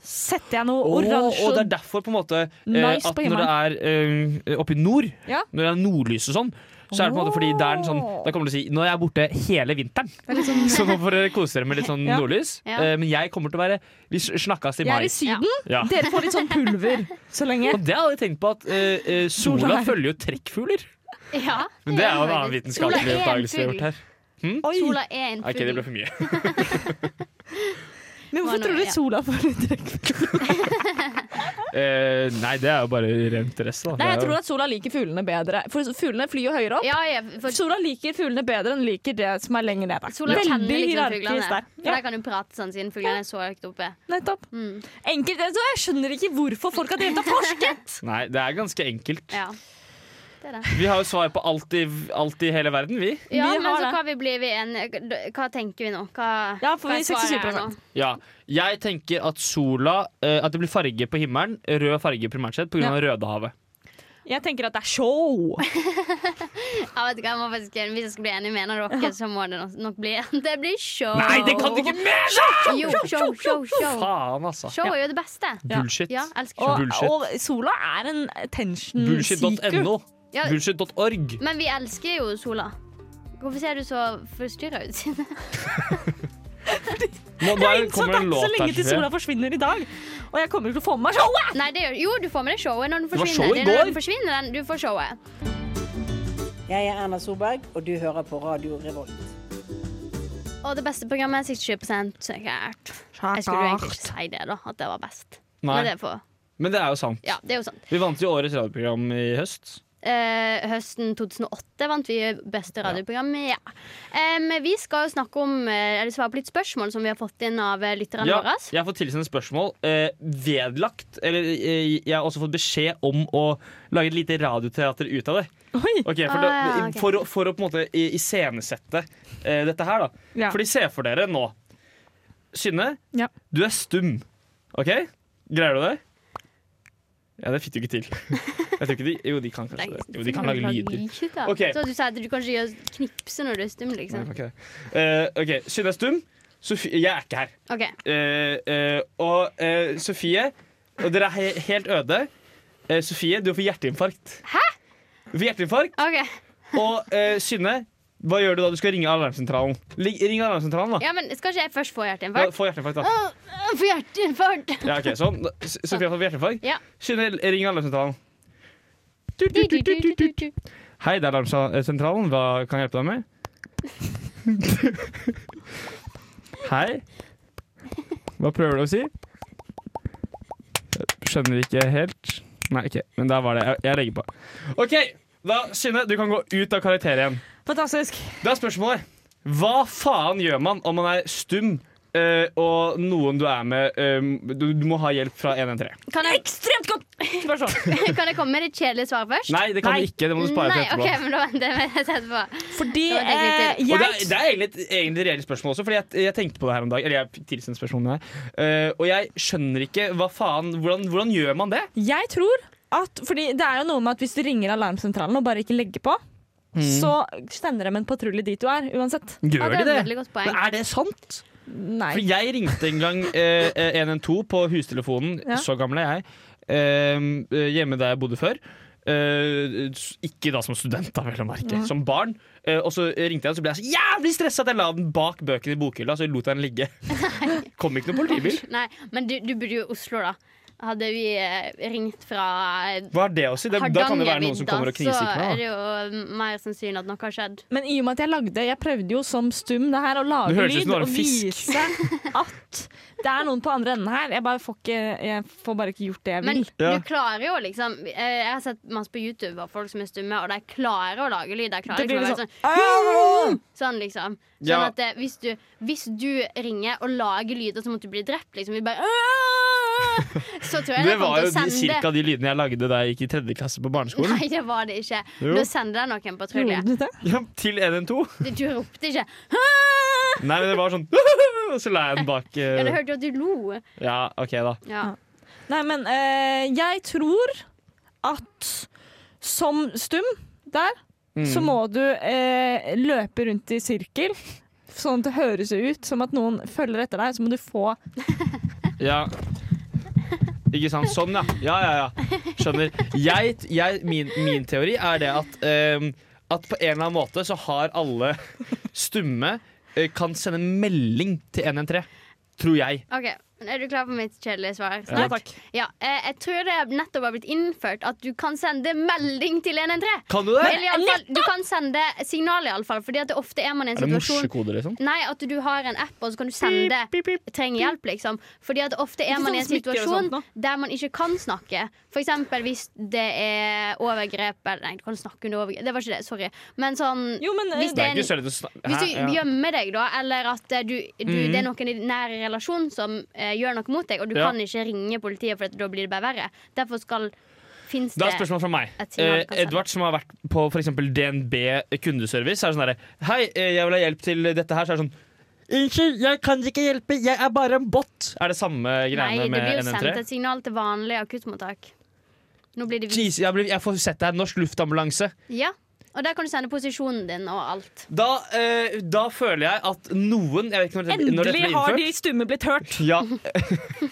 [SPEAKER 1] setter jeg noe
[SPEAKER 2] Åh,
[SPEAKER 1] oransje
[SPEAKER 2] og det er
[SPEAKER 1] og
[SPEAKER 2] derfor på en måte eh,
[SPEAKER 1] Nice
[SPEAKER 2] at
[SPEAKER 1] på
[SPEAKER 2] når det er eh, oppe i nord,
[SPEAKER 1] Ja.
[SPEAKER 2] når det er nordlys og sånn, så er det på en måte fordi det er en sånn Da kommer du til å si Nå er jeg borte hele vinteren, så nå får dere kose dere med litt sånn
[SPEAKER 1] sånn- Ja.
[SPEAKER 2] nordlys.
[SPEAKER 3] Ja.
[SPEAKER 2] Eh, men jeg kommer til å være Vi s- snakkes i
[SPEAKER 1] Jeg
[SPEAKER 2] mai.
[SPEAKER 1] er i Syden.
[SPEAKER 2] Ja.
[SPEAKER 1] Dere får litt sånn pulver så lenge.
[SPEAKER 2] Og det har jeg tenkt på, at eh, eh, sola
[SPEAKER 1] Sola er-
[SPEAKER 2] følger jo trekkfugler.
[SPEAKER 3] Ja,
[SPEAKER 2] Men det er jo en
[SPEAKER 3] faktisk.
[SPEAKER 2] annen vitenskapelig
[SPEAKER 3] Sola er en
[SPEAKER 2] oppdagelse vi har gjort
[SPEAKER 3] fugl.
[SPEAKER 2] her.
[SPEAKER 1] Oi,
[SPEAKER 3] Sola er en
[SPEAKER 2] Ok, det ble
[SPEAKER 3] fugl.
[SPEAKER 2] for mye.
[SPEAKER 1] men hvorfor
[SPEAKER 3] Var
[SPEAKER 1] tror
[SPEAKER 3] noe-
[SPEAKER 1] du
[SPEAKER 3] ja.
[SPEAKER 1] sola får litt trekk?
[SPEAKER 2] Eh, nei, det er jo bare rent rest, da.
[SPEAKER 1] Nei,
[SPEAKER 2] Det er
[SPEAKER 1] jeg
[SPEAKER 2] jo-
[SPEAKER 1] tror at sola liker fuglene bedre. For fuglene flyr jo høyere opp.
[SPEAKER 3] Ja, ja, for
[SPEAKER 1] Sola liker fuglene bedre enn liker det som er lenger nede.
[SPEAKER 3] sola kjenner liksom fuglene.
[SPEAKER 1] der.
[SPEAKER 3] For
[SPEAKER 1] Ja,
[SPEAKER 3] der kan du prate sånn, siden fuglene er så høyt oppe.
[SPEAKER 1] nettopp.
[SPEAKER 3] Mm.
[SPEAKER 1] Enkelt, altså, Jeg skjønner ikke hvorfor folk har drevet og forsket!
[SPEAKER 2] Nei, det er ganske enkelt.
[SPEAKER 3] Ja. Det er det.
[SPEAKER 2] Vi har jo svar på alt i, alt i hele verden, vi.
[SPEAKER 3] Ja,
[SPEAKER 1] Vi
[SPEAKER 3] men så
[SPEAKER 1] har det.
[SPEAKER 3] hva vi blir vi en Hva tenker vi nå? Hva,
[SPEAKER 1] Ja, for
[SPEAKER 3] hva
[SPEAKER 1] vi er
[SPEAKER 3] svaret
[SPEAKER 1] 67%.
[SPEAKER 3] nå?
[SPEAKER 2] Ja, jeg tenker at sola eh, At det blir farge på himmelen, rød farge primært sett, pga.
[SPEAKER 1] Ja.
[SPEAKER 2] av Rødehavet.
[SPEAKER 1] Jeg tenker at det er show!
[SPEAKER 3] Ja, vet du hva, jeg må faktisk, Hvis jeg skal bli enig med en av dere, så må det nok- nok bli Det blir show.
[SPEAKER 2] Nei, det kan du ikke mene!
[SPEAKER 3] Jo, show, show, show.
[SPEAKER 2] Faen, altså.
[SPEAKER 3] Show er jo det beste.
[SPEAKER 1] Ja.
[SPEAKER 2] Bullshit.
[SPEAKER 3] Ja, elsker show.
[SPEAKER 1] Og,
[SPEAKER 2] Bullshit.
[SPEAKER 1] og sola er en attention seeker.
[SPEAKER 2] Bullshit.no.
[SPEAKER 3] Ja,
[SPEAKER 2] Bullshit.org.
[SPEAKER 3] men vi elsker jo sola. Hvorfor ser du så forstyrra ut?
[SPEAKER 2] Nå, nå er-
[SPEAKER 1] Så det
[SPEAKER 2] kommer det
[SPEAKER 1] er
[SPEAKER 2] en
[SPEAKER 1] ikke så
[SPEAKER 2] låt
[SPEAKER 1] lenge
[SPEAKER 2] her.
[SPEAKER 1] til sola
[SPEAKER 2] Sofie.
[SPEAKER 1] forsvinner i dag. Og jeg kommer ikke til å få med meg sånn, showet!
[SPEAKER 3] Nei, det gjør, jo, du får med deg showet når den
[SPEAKER 2] var
[SPEAKER 3] forsvinner.
[SPEAKER 2] show i
[SPEAKER 3] Det er når
[SPEAKER 2] går.
[SPEAKER 3] den forsvinner, den, du får showet.
[SPEAKER 6] Jeg er Erna Solberg, og du hører på Radio Revolt.
[SPEAKER 3] Og det beste programmet er 67 sikkert. Jeg skulle jo egentlig ikke si det, da. At det var best.
[SPEAKER 2] Nei,
[SPEAKER 3] Men det, er for,
[SPEAKER 2] men det er jo sant.
[SPEAKER 3] ja, det er jo sant.
[SPEAKER 2] Vi vant jo årets radioprogram i høst.
[SPEAKER 3] Eh, høsten 2008 vant vi beste radioprogram. Ja. Em, vi skal jo snakke om eh, Eller svare på litt spørsmål som vi har fått inn av eh, lytterne
[SPEAKER 2] Ja,
[SPEAKER 3] våre.
[SPEAKER 2] jeg har fått tilsendt spørsmål. Eh, vedlagt Eller eh, jeg har også fått beskjed om å lage et lite radioteater ut av det.
[SPEAKER 1] sånn, Oi.
[SPEAKER 2] Ok, for,
[SPEAKER 3] Ah,
[SPEAKER 2] da,
[SPEAKER 3] ja, ok.
[SPEAKER 2] for, å- for å på en måte i- iscenesette eh, dette her, da.
[SPEAKER 1] Ja.
[SPEAKER 2] Fordi se for dere nå. Synne,
[SPEAKER 1] Ja.
[SPEAKER 2] du er stum. OK? Greier du det? Ja, det fikk du ikke til. Jeg tror ikke de, jo, de kan kanskje det. Jo, de kan lage lyder.
[SPEAKER 3] da.
[SPEAKER 2] Ok.
[SPEAKER 3] Så du sa at du kan ikke gjøre knipse når du er stum,
[SPEAKER 2] Nei,
[SPEAKER 3] liksom.
[SPEAKER 2] ok. Eh, OK, Synne er stum. Sofie, jeg er ikke her.
[SPEAKER 3] OK.
[SPEAKER 2] Eh, eh, og eh, Sofie Og dere er he helt øde. Eh, Sofie, du får hjerteinfarkt. Hæ? Du får hjerteinfarkt.
[SPEAKER 3] ok
[SPEAKER 2] Og eh, Synne, hva gjør du da du skal ringe alarmsentralen? Lig- Ring alarmsentralen, da.
[SPEAKER 3] Ja, men Skal ikke jeg først få
[SPEAKER 2] Ja,
[SPEAKER 3] hjerteinfarkt?
[SPEAKER 2] Få hjerteinfarkt, da.
[SPEAKER 3] Åh, jeg Får hjerteinfarkt!
[SPEAKER 2] Ja, ok, sånn. Da- S- Sofie har fått hjerteinfarkt.
[SPEAKER 3] Ja.
[SPEAKER 2] Synne, ring alarmsentralen. Tut, tut, tut, tut, tut, tut. Hei, det er alarmsentralen. Hva kan jeg hjelpe deg med? Hei. Hva prøver du å si? Jeg skjønner ikke helt. Nei, ok, men der var det. Jeg, jeg legger på. OK, da, Synne, du kan gå ut av karakter igjen.
[SPEAKER 1] Fantastisk.
[SPEAKER 2] Da er spørsmålet Hva faen gjør man om man er stum eh, og noen du er med eh, du, du må ha hjelp fra 113?
[SPEAKER 3] Kan jeg,
[SPEAKER 1] Ekstremt godt spørsmål.
[SPEAKER 3] kan jeg komme med et kjedelig svar først?
[SPEAKER 2] Nei, det kan
[SPEAKER 1] Nei.
[SPEAKER 2] du ikke. Det må du spare
[SPEAKER 3] Nei,
[SPEAKER 2] til etterpå.
[SPEAKER 3] ok, men da venter jeg med det etterpå.
[SPEAKER 1] Fordi
[SPEAKER 3] Det var det jeg
[SPEAKER 1] eh,
[SPEAKER 3] tenkte.
[SPEAKER 2] Og det er,
[SPEAKER 1] jeg
[SPEAKER 2] det er egentlig et egentlig et reelt spørsmål også, Fordi jeg, jeg tenkte på det her om dagen. Eller jeg fikk tilsendt spørsmålet her. Eh, og jeg skjønner ikke hva faen Hvordan, hvordan gjør man det?
[SPEAKER 1] Jeg tror at Fordi det er jo noe med at hvis du ringer alarmsentralen og bare ikke legger på,
[SPEAKER 2] Mm.
[SPEAKER 1] så sender de en patrulje dit du er, uansett.
[SPEAKER 2] Gjør
[SPEAKER 3] Ja, det er
[SPEAKER 2] de
[SPEAKER 3] et
[SPEAKER 2] det?
[SPEAKER 3] veldig godt poeng.
[SPEAKER 2] Men er det sant? For
[SPEAKER 1] Nei.
[SPEAKER 2] jeg ringte en gang eh, eh, 112 på hustelefonen,
[SPEAKER 1] Ja.
[SPEAKER 2] så gammel er jeg, eh, eh, hjemme der jeg bodde før. Eh, s- ikke da som student, da, vel å merke. Som barn. Eh, og så ringte jeg, og så ble jeg så jævlig stressa at jeg la den bak bøkene i bokhylla, så lot jeg den ligge. Kom ikke noen politibil.
[SPEAKER 3] Nei, men du, du bor jo i Oslo, da. Hadde vi eh, ringt fra eh,
[SPEAKER 2] Hva er det å si? Det, da kan det være noen som kommer og
[SPEAKER 3] så
[SPEAKER 2] knivstikker
[SPEAKER 3] er
[SPEAKER 2] meg.
[SPEAKER 3] det jo mer sannsynlig at noe har skjedd.
[SPEAKER 1] Men i og med at jeg lagde Jeg prøvde jo som stum det her å
[SPEAKER 2] Det
[SPEAKER 1] lage
[SPEAKER 2] høres ut
[SPEAKER 1] lyd
[SPEAKER 2] som det var
[SPEAKER 1] og
[SPEAKER 2] en fisk.
[SPEAKER 1] vise at det er noen på andre enden her. Jeg bare får ikke Jeg får bare ikke gjort det jeg
[SPEAKER 3] Men
[SPEAKER 1] vil.
[SPEAKER 2] Ja.
[SPEAKER 3] du klarer jo liksom eh, Jeg har sett masse på YouTube av folk som er stumme, og de klarer å lage lyd. De klarer
[SPEAKER 1] Det blir
[SPEAKER 3] liksom å
[SPEAKER 1] litt
[SPEAKER 3] være sånn
[SPEAKER 1] sånn
[SPEAKER 3] Sånn liksom Sånn
[SPEAKER 2] Ja.
[SPEAKER 3] at eh, hvis, du, hvis du ringer og lager lyder som at du blir drept liksom, vi bare, Så tror jeg
[SPEAKER 2] Det
[SPEAKER 3] de
[SPEAKER 2] var
[SPEAKER 3] kommer til
[SPEAKER 2] jo
[SPEAKER 3] å
[SPEAKER 2] de,
[SPEAKER 3] sende
[SPEAKER 2] cirka de lydene jeg lagde da jeg gikk i tredje klasse på barneskolen.
[SPEAKER 3] Nei, det var det ikke
[SPEAKER 2] Jo.
[SPEAKER 3] Nå sender de noen patrulje
[SPEAKER 1] Gjorde du det?
[SPEAKER 2] Ja, til 112.
[SPEAKER 3] Du ropte ikke
[SPEAKER 2] Nei, men det var sånn Og så la jeg den bak.
[SPEAKER 3] Ja, du
[SPEAKER 2] eh,
[SPEAKER 3] hørte jo at du lo
[SPEAKER 2] Ja, OK, da.
[SPEAKER 3] ja.
[SPEAKER 1] Nei, men eh, jeg tror at som stum der,
[SPEAKER 2] Mm.
[SPEAKER 1] så må du eh, løpe rundt i sirkel. Sånn at det høres ut som at noen følger etter deg, så må du få
[SPEAKER 2] Ja. Ikke sant? Sånn, ja. Ja, ja, ja. Skjønner. Jeg, jeg, min, min teori er det at, ehm, at på en eller annen måte så har alle stumme eh, kan sende melding til 113. Tror jeg.
[SPEAKER 3] Ok, men er du klar for mitt kjedelige svar?
[SPEAKER 2] Ja.
[SPEAKER 3] snart? Ja, eh, jeg tror det nettopp har blitt innført At du kan sende melding til 113
[SPEAKER 2] Kan du det?
[SPEAKER 3] Eller i alle fall, du kan sende signal i alle fall Fordi at det ofte er man i en
[SPEAKER 2] Er det
[SPEAKER 3] situasjon
[SPEAKER 2] morsekode, liksom?
[SPEAKER 3] Nei, at du har en app, og så kan du sende Trenger hjelp, liksom. Fordi at ofte er
[SPEAKER 1] Ikke
[SPEAKER 3] man i
[SPEAKER 1] sånn
[SPEAKER 3] en
[SPEAKER 1] smykker og
[SPEAKER 3] situasjon
[SPEAKER 1] sånt nå.
[SPEAKER 3] der man ikke kan snakke. For eksempel hvis det er overgrep eller, Nei, du kan snakke under overgrep. Det var ikke det, sorry. Men sånn
[SPEAKER 1] Jo, men eh,
[SPEAKER 3] Hvis
[SPEAKER 2] Det
[SPEAKER 3] det-
[SPEAKER 2] er ikke så lett å snakke
[SPEAKER 3] hvis du gjemmer deg, da, eller at eh, du, du,
[SPEAKER 2] Mhm.
[SPEAKER 3] det er noen i din nære relasjon som eh, gjør noe mot deg, og du
[SPEAKER 2] Ja.
[SPEAKER 3] kan ikke ringe politiet, for at da blir det bare verre. Derfor skal Fins
[SPEAKER 2] Da
[SPEAKER 3] det
[SPEAKER 2] er spørsmålet fra meg.
[SPEAKER 3] Et signal kan
[SPEAKER 2] Eh, Edvard, som har vært på for eksempel DNB kundeservice, er sånn herre Hei, eh, jeg vil ha hjelp til dette her. Så er det sånn Unnskyld, jeg kan ikke hjelpe, jeg er bare en bot. Er det samme
[SPEAKER 3] Nei,
[SPEAKER 2] greiene
[SPEAKER 3] det blir jo
[SPEAKER 2] med
[SPEAKER 3] sendt
[SPEAKER 2] NN3?
[SPEAKER 3] et signal til vanlig akuttmottak. Nå blir det vist.
[SPEAKER 2] Jeez, jeg, blir, jeg får sett deg, norsk luftambulanse.
[SPEAKER 3] Ja. Og der kan du sende posisjonen din og alt.
[SPEAKER 2] Da, eh, da føler jeg at noen jeg vet ikke når dette, når dette
[SPEAKER 1] endelig
[SPEAKER 2] ble
[SPEAKER 1] har
[SPEAKER 2] innført,
[SPEAKER 1] de stumme blitt hørt.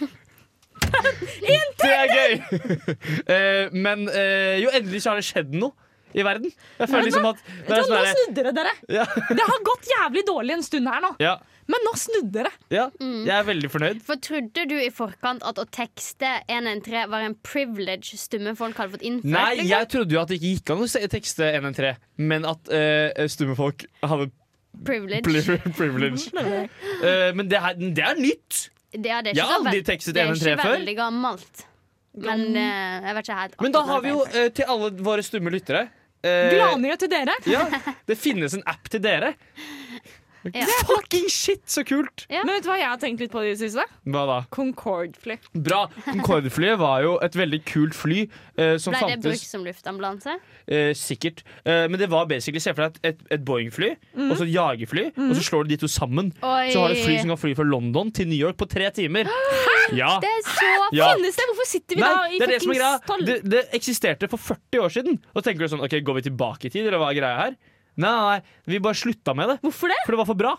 [SPEAKER 2] Ja. det er gøy! Eh, men eh, jo, endelig så har det skjedd noe i verden. Jeg føler liksom at det er
[SPEAKER 1] Nå
[SPEAKER 2] sånn
[SPEAKER 1] nå
[SPEAKER 2] herre-
[SPEAKER 1] snudde det, dere.
[SPEAKER 2] Ja.
[SPEAKER 1] Det har gått jævlig dårlig en stund her nå,
[SPEAKER 2] ja,
[SPEAKER 1] men nå snudde det.
[SPEAKER 2] ja,
[SPEAKER 3] Mm.
[SPEAKER 2] jeg er veldig fornøyd.
[SPEAKER 3] For trodde du i forkant at å tekste 113 var en privilege stumme folk hadde fått innført?
[SPEAKER 2] Nei,
[SPEAKER 3] liksom?
[SPEAKER 2] jeg trodde jo at det ikke gikk an å se- tekste 113, men at eh, stumme folk hadde
[SPEAKER 3] privilege.
[SPEAKER 2] pri- privilege. Eh, men det, her, det er nytt!
[SPEAKER 3] Ja, det er ikke
[SPEAKER 2] Jeg har
[SPEAKER 3] så vel-
[SPEAKER 2] aldri tekstet
[SPEAKER 3] Det er
[SPEAKER 2] 113
[SPEAKER 3] ikke
[SPEAKER 2] før.
[SPEAKER 3] veldig gammelt. Men eh, jeg vet ikke helt.
[SPEAKER 2] Men da
[SPEAKER 3] akkurat
[SPEAKER 2] har vi
[SPEAKER 3] når
[SPEAKER 2] jo
[SPEAKER 3] det ble innført.
[SPEAKER 2] eh, til alle våre stumme lyttere eh,
[SPEAKER 1] Gladnyhet til dere.
[SPEAKER 2] Ja, det finnes en app til dere.
[SPEAKER 3] Ja.
[SPEAKER 2] Fucking shit, så kult!
[SPEAKER 3] Ja.
[SPEAKER 1] Men vet du hva jeg har tenkt litt på i det siste?
[SPEAKER 2] Hva da?
[SPEAKER 1] Concorde-fly.
[SPEAKER 2] Bra. Concorde-flyet var jo et veldig kult fly eh, som
[SPEAKER 3] Ble det brukt
[SPEAKER 2] fantes
[SPEAKER 3] som luftambulanse?
[SPEAKER 2] eh, sikkert. Eh, men det var basically, se for deg et, et, et Boeing-fly og så et jagerfly, og så slår du de to sammen.
[SPEAKER 3] Mhm. Oi.
[SPEAKER 2] Så har du et fly som kan fly fra London til New York på tre timer. Ja.
[SPEAKER 3] Det er Eh, så
[SPEAKER 2] Ja.
[SPEAKER 1] Finnes det? Hvorfor sitter vi
[SPEAKER 2] Nei,
[SPEAKER 1] da i
[SPEAKER 2] det er det som er
[SPEAKER 1] fuckings
[SPEAKER 2] greia.
[SPEAKER 1] tolv?
[SPEAKER 2] Det, det eksisterte for 40 år siden. Og så tenker du sånn, ok, går vi tilbake i tid, eller hva er greia her? Nei, nei, vi bare slutta med det.
[SPEAKER 1] Hvorfor det?
[SPEAKER 2] For det var for bra.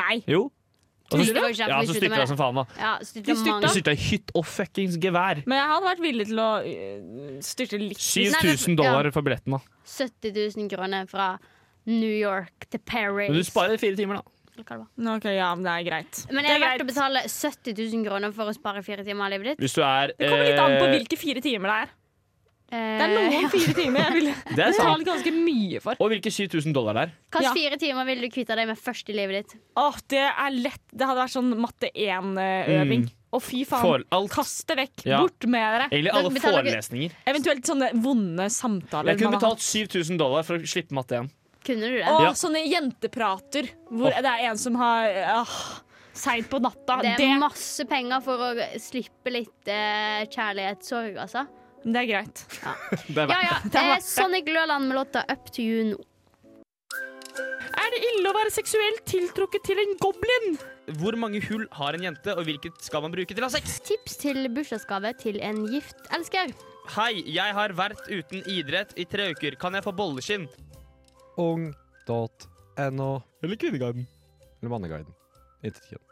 [SPEAKER 1] Nei.
[SPEAKER 2] Jo. Og så,
[SPEAKER 3] Tror du det?
[SPEAKER 2] ja, så altså. styrta jeg som faen, da.
[SPEAKER 3] Ja,
[SPEAKER 1] De styrta.
[SPEAKER 2] Du
[SPEAKER 3] mange.
[SPEAKER 2] styrta i hytt og fuckings gevær.
[SPEAKER 1] Men jeg hadde vært villig til å øh, styrte litt.
[SPEAKER 3] Nei, men-
[SPEAKER 2] 7000 dollar for billetten, da.
[SPEAKER 3] 70 000 kroner fra New York til Paris.
[SPEAKER 2] Men du sparer fire timer, da.
[SPEAKER 3] Eller hva det var.
[SPEAKER 1] Nå, Ok, ja, men det er greit.
[SPEAKER 3] Men
[SPEAKER 1] det
[SPEAKER 3] jeg
[SPEAKER 1] er
[SPEAKER 3] har vært å
[SPEAKER 1] greit.
[SPEAKER 3] betale 70 000 kroner for å spare fire timer av livet ditt.
[SPEAKER 2] Hvis du er
[SPEAKER 1] Det kommer litt an på
[SPEAKER 2] eh,
[SPEAKER 1] hvilke fire timer det er. Det er
[SPEAKER 3] Eh,
[SPEAKER 1] noen fire timer jeg ville
[SPEAKER 2] Det er sant.
[SPEAKER 1] betalt ganske mye for.
[SPEAKER 2] Og hvilke 7000 dollar det er.
[SPEAKER 3] Hvilke
[SPEAKER 1] Ja.
[SPEAKER 3] fire timer vil du kvitte deg med først i livet ditt?
[SPEAKER 1] Åh, det er lett. Det hadde vært sånn matte 1-øving. Å, fy
[SPEAKER 2] Mm. For
[SPEAKER 1] faen.
[SPEAKER 2] alt.
[SPEAKER 1] Kast det vekk.
[SPEAKER 2] Ja.
[SPEAKER 1] Bort med dere.
[SPEAKER 2] Egentlig
[SPEAKER 3] Da
[SPEAKER 2] alle
[SPEAKER 3] betaler du-
[SPEAKER 2] forelesninger.
[SPEAKER 1] Eventuelt sånne vonde samtaler.
[SPEAKER 2] Jeg kunne
[SPEAKER 1] man har
[SPEAKER 2] betalt 7000 dollar for å slippe matte igjen.
[SPEAKER 3] Kunne du det?
[SPEAKER 1] hatt. Og
[SPEAKER 2] Ja.
[SPEAKER 1] sånne jenteprater hvor det er en som har uh, Seint på natta.
[SPEAKER 3] det
[SPEAKER 1] Det,
[SPEAKER 3] er masse penger for å slippe litt eh, kjærlighetssorg, altså.
[SPEAKER 1] det er greit.
[SPEAKER 2] Det er
[SPEAKER 3] Ja,
[SPEAKER 2] verdt.
[SPEAKER 3] ja.
[SPEAKER 1] Det er
[SPEAKER 3] Eh,
[SPEAKER 1] verdt det.
[SPEAKER 3] Sonic Gløland med låta 'Up to You Now'.
[SPEAKER 1] Er det ille å være seksuelt tiltrukket til en goblin?
[SPEAKER 2] Hvor mange hull har en jente, og hvilket skal man bruke til å ha sex?
[SPEAKER 3] Tips til bursdagsgave til en gift elsker.
[SPEAKER 2] Hei, jeg har vært uten idrett i tre uker. Kan jeg få bolleskinn?
[SPEAKER 7] Ung.no.
[SPEAKER 2] Eller Kvinneguiden.
[SPEAKER 7] Eller Manneguiden. Intet kjønn.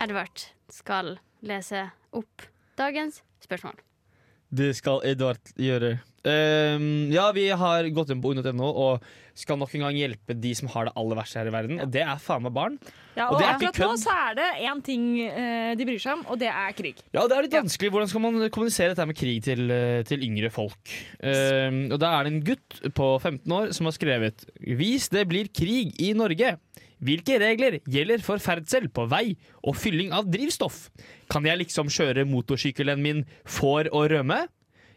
[SPEAKER 3] Edvard skal lese opp dagens spørsmål.
[SPEAKER 2] Det skal Edvard gjøre. Ehm, ja, vi har gått inn på ung.no og skal nok en gang hjelpe de som har det aller verst her i verden. Og det er faen meg barn.
[SPEAKER 1] Ja,
[SPEAKER 2] Og
[SPEAKER 1] og
[SPEAKER 2] det er ikke
[SPEAKER 1] akkurat nå
[SPEAKER 2] kødd.
[SPEAKER 1] så er det én ting eh, de bryr seg om, og det er krig.
[SPEAKER 2] Ja, det er litt vanskelig. Hvordan skal man kommunisere dette her med krig til, eh, til yngre folk? Ehm, og da er det en gutt på 15 år som har skrevet Hvis det blir krig i Norge, hvilke regler gjelder for ferdsel på vei og fylling av drivstoff? Kan jeg liksom kjøre motorsykkelen min for å rømme?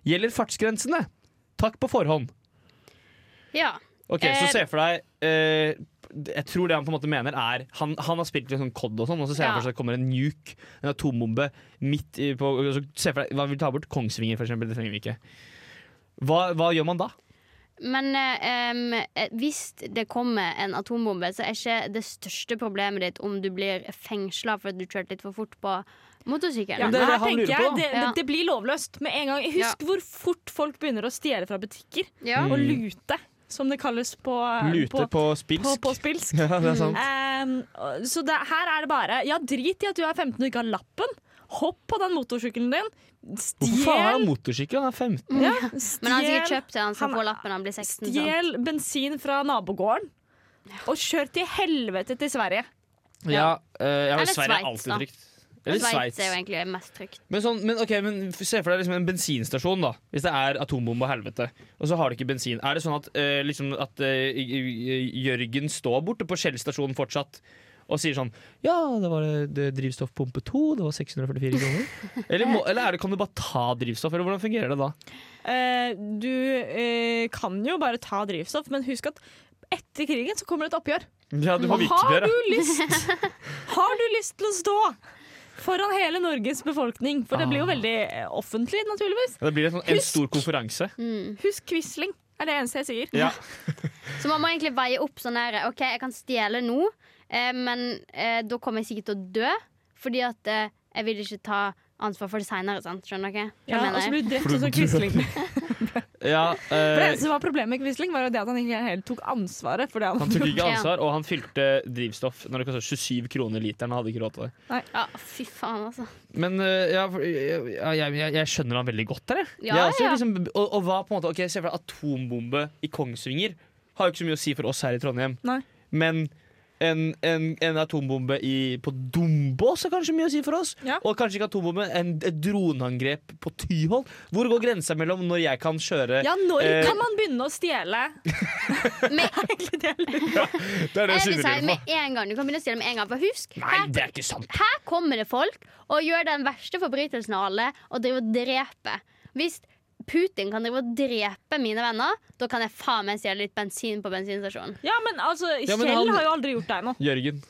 [SPEAKER 2] Gjelder fartsgrensene? Takk på forhånd.
[SPEAKER 3] Ja.
[SPEAKER 2] Ok,
[SPEAKER 3] Eh,
[SPEAKER 2] Så se for deg eh, Jeg tror det han på en måte mener er Han, han har spilt litt sånn COD og sånn, og så ser han
[SPEAKER 3] Ja.
[SPEAKER 2] for seg at det kommer en nuke, en atombombe, midt i på og så Se for deg hva vil ta bort Kongsvinger, for eksempel. Det trenger vi ikke. Hva, hva gjør man da?
[SPEAKER 3] Men eh, em, eh, hvis det kommer en atombombe, så er ikke det største problemet ditt om du blir fengsla for at du kjørte litt for fort på motorsykkelen.
[SPEAKER 2] Ja, men det er det
[SPEAKER 1] her
[SPEAKER 2] han
[SPEAKER 1] tenker
[SPEAKER 2] lurer
[SPEAKER 1] jeg,
[SPEAKER 2] på.
[SPEAKER 1] Det, det,
[SPEAKER 3] Ja.
[SPEAKER 1] det blir lovløst med en gang. Husk hvor fort folk begynner å stjele fra butikker.
[SPEAKER 3] Ja.
[SPEAKER 1] Og lute, som det kalles på
[SPEAKER 2] Mm. Lute på spilsk?
[SPEAKER 1] på, på spilsk.
[SPEAKER 2] Ja, det er sant.
[SPEAKER 1] Ehm, og- så det, her er det bare Ja, drit i at du er 15 og ikke har lappen. Hopp på den motorsykkelen din.
[SPEAKER 2] Hvorfor faen har han
[SPEAKER 1] Stjel,
[SPEAKER 2] motorsykkel? Han er 15.
[SPEAKER 3] Men
[SPEAKER 1] ja,
[SPEAKER 3] han har sikkert
[SPEAKER 1] stjel,
[SPEAKER 3] kjøpt det, han skal
[SPEAKER 1] Han-
[SPEAKER 3] få lappen når han blir 16. sant?
[SPEAKER 1] stjel bensin fra nabogården. Og kjør til helvete til Sverige.
[SPEAKER 2] Ja, eh, ja,
[SPEAKER 3] Eller
[SPEAKER 2] men Sverige er
[SPEAKER 3] Sveits,
[SPEAKER 2] alltid
[SPEAKER 3] da.
[SPEAKER 2] trygt. Eller
[SPEAKER 3] Sveits
[SPEAKER 2] Sveits.
[SPEAKER 3] er jo egentlig mest trygt.
[SPEAKER 2] Men, sånn, men, ok, men f- se for deg liksom en bensinstasjon, da. Hvis det er atombombe og helvete, og så har du ikke bensin. Er det sånn at, eh, liksom at eh, J- J- Jørgen står borte på Skjell stasjon fortsatt og sier sånn Ja, det var eh, det drivstoffpumpe 2, det var 644 kroner. eller må, eller er det, kan du bare ta drivstoff, eller hvordan fungerer det da?
[SPEAKER 1] Eh, du eh, kan jo bare ta drivstoff, men husk at etter krigen så kommer det et oppgjør.
[SPEAKER 2] Ja, du
[SPEAKER 1] Og har du lyst Har du lyst til å stå foran hele Norges befolkning? For det blir jo
[SPEAKER 2] Ah.
[SPEAKER 1] veldig eh, offentlig, naturligvis.
[SPEAKER 2] Det blir en, sånn, en stor konferanse.
[SPEAKER 1] Husk Quisling, er det eneste jeg sier.
[SPEAKER 2] Ja.
[SPEAKER 3] Mm. Så man må egentlig veie opp sånn her OK, jeg kan stjele nå, eh, men eh, da kommer jeg sikkert til å dø. Fordi at eh, jeg vil ikke ta ansvar for det seinere, sant. Skjønner dere? Hva
[SPEAKER 1] Ja, og
[SPEAKER 3] mener
[SPEAKER 1] så
[SPEAKER 3] jeg?
[SPEAKER 1] blir du drept sånn som Quisling. For
[SPEAKER 2] ja
[SPEAKER 1] det sånn?
[SPEAKER 2] eh,
[SPEAKER 1] eneste som var problemet med Quisling, var jo det at han ikke helt tok ansvaret for det
[SPEAKER 2] han
[SPEAKER 1] han
[SPEAKER 2] tok ikke
[SPEAKER 3] Ja.
[SPEAKER 2] ansvar, og han fylte drivstoff når det kostet 27 kroner literen. Han hadde ikke råd til det.
[SPEAKER 3] Ja, fy faen, altså.
[SPEAKER 2] Men øh, ja, for- jeg, jeg, jeg, jeg skjønner han veldig godt der. Jeg.
[SPEAKER 3] Ja,
[SPEAKER 2] jeg også,
[SPEAKER 3] ja.
[SPEAKER 2] Liksom, og, og hva på en måte Ok, Se for deg atombombe i Kongsvinger. Har jo ikke så mye å si for oss her i Trondheim.
[SPEAKER 1] Nei.
[SPEAKER 2] Men en, en, en atombombe i, på Dombås har kanskje mye å si for oss.
[SPEAKER 1] Ja.
[SPEAKER 2] Og kanskje ikke atombombe, en, et droneangrep på Tyholt. Hvor går grensa mellom når jeg kan kjøre
[SPEAKER 1] Ja, når
[SPEAKER 2] Eh,
[SPEAKER 1] kan man begynne å stjele?
[SPEAKER 3] Med,
[SPEAKER 1] Egentlig det jeg lurer på.
[SPEAKER 2] Det er det
[SPEAKER 3] eh, jeg vil
[SPEAKER 2] Sigrid
[SPEAKER 3] si,
[SPEAKER 2] lurer på.
[SPEAKER 3] med en gang. Du kan begynne å stjele med en gang. For husk,
[SPEAKER 2] Nei,
[SPEAKER 3] her,
[SPEAKER 2] det er ikke sant!
[SPEAKER 3] her kommer det folk og gjør den verste forbrytelsen av alle og driver og dreper. Hvis Putin kan drive og drepe mine venner, da kan jeg faen meg stjele litt bensin på bensinstasjonen.
[SPEAKER 1] Ja, men altså,
[SPEAKER 2] Ja, men
[SPEAKER 1] Kjell
[SPEAKER 2] han-
[SPEAKER 1] har jo aldri gjort deg noe.
[SPEAKER 2] Jørgen.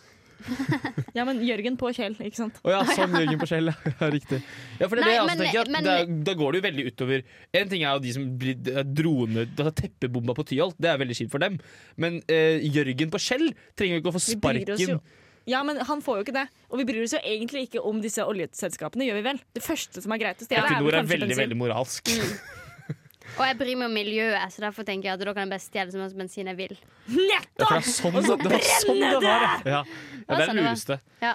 [SPEAKER 1] Ja, men Jørgen på Kjell, ikke sant.
[SPEAKER 2] Å ja, sånn Jørgen på Skjell. Ja, riktig. Ja, for det, er
[SPEAKER 3] Nei,
[SPEAKER 2] det jeg også
[SPEAKER 3] men-
[SPEAKER 2] tenker, at
[SPEAKER 3] men-
[SPEAKER 2] det er- da går det jo veldig utover En ting er jo de som blir eh, drone, altså teppebomba på Tyholt, det er veldig kjipt for dem. Men eh, Jørgen på Skjell trenger jo ikke å få
[SPEAKER 1] Vi bryr oss
[SPEAKER 2] sparken.
[SPEAKER 1] jo- Ja, men han får jo ikke det. Og vi bryr oss jo egentlig ikke om disse oljeselskapene, gjør vi vel? Det første som er greit å stjele, er vel
[SPEAKER 2] Equinor er
[SPEAKER 1] kanskje
[SPEAKER 2] veldig,
[SPEAKER 1] bensin.
[SPEAKER 2] veldig moralsk.
[SPEAKER 3] Mm. Og jeg bryr meg om miljøet, så derfor tenker jeg at da kan jeg bare stjele så mye bensin jeg vil.
[SPEAKER 2] Ja, for
[SPEAKER 1] Nettopp!
[SPEAKER 2] det er sånn det, det var sånn det
[SPEAKER 1] brenner
[SPEAKER 2] var! Ja. Ja, det er
[SPEAKER 3] sånn
[SPEAKER 2] det
[SPEAKER 3] det var.
[SPEAKER 2] lureste.
[SPEAKER 3] Ja.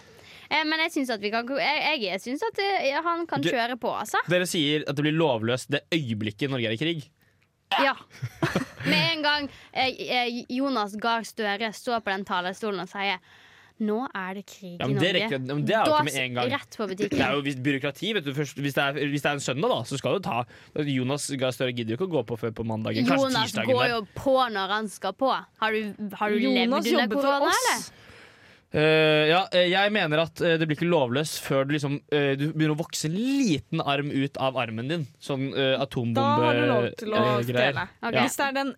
[SPEAKER 3] Eh, men jeg syns at vi kan Jeg, jeg synes at eh, han kan
[SPEAKER 2] Du-
[SPEAKER 3] kjøre på, altså.
[SPEAKER 2] Dere sier at det blir lovløst det øyeblikket Norge er i krig.
[SPEAKER 3] Ja. Med en gang eh, eh, Jonas Gahr Støre står på den talerstolen og sier Nå er det krig
[SPEAKER 2] Ja, men
[SPEAKER 3] i
[SPEAKER 2] det,
[SPEAKER 3] Norge.
[SPEAKER 2] rekker, men det er jo
[SPEAKER 3] Da
[SPEAKER 2] ikke med en gang.
[SPEAKER 3] Rett på
[SPEAKER 2] Det er
[SPEAKER 3] butikken.
[SPEAKER 2] jo visst byråkrati. Vet du, først, hvis, det er, hvis det er en søndag, da, så skal du ta Jonas Gahr Støre gidder jo ikke å gå på før på mandagen. Kanskje
[SPEAKER 3] Jonas
[SPEAKER 2] tirsdagen.
[SPEAKER 3] går
[SPEAKER 2] der.
[SPEAKER 3] jo på når han skal på. Har du, har du levd
[SPEAKER 1] Jonas
[SPEAKER 3] under
[SPEAKER 1] jobber for
[SPEAKER 3] korona, eller?
[SPEAKER 1] oss.
[SPEAKER 2] Eh, ja, eh, jeg mener at eh, det blir ikke lovløst før du liksom eh, Du begynner å vokse en liten arm ut av armen din. Sånn eh, atombombe
[SPEAKER 1] Da har du lov til å
[SPEAKER 2] eh, greier.
[SPEAKER 1] stjele.
[SPEAKER 3] Ok.
[SPEAKER 2] Ja.
[SPEAKER 1] Hvis det er den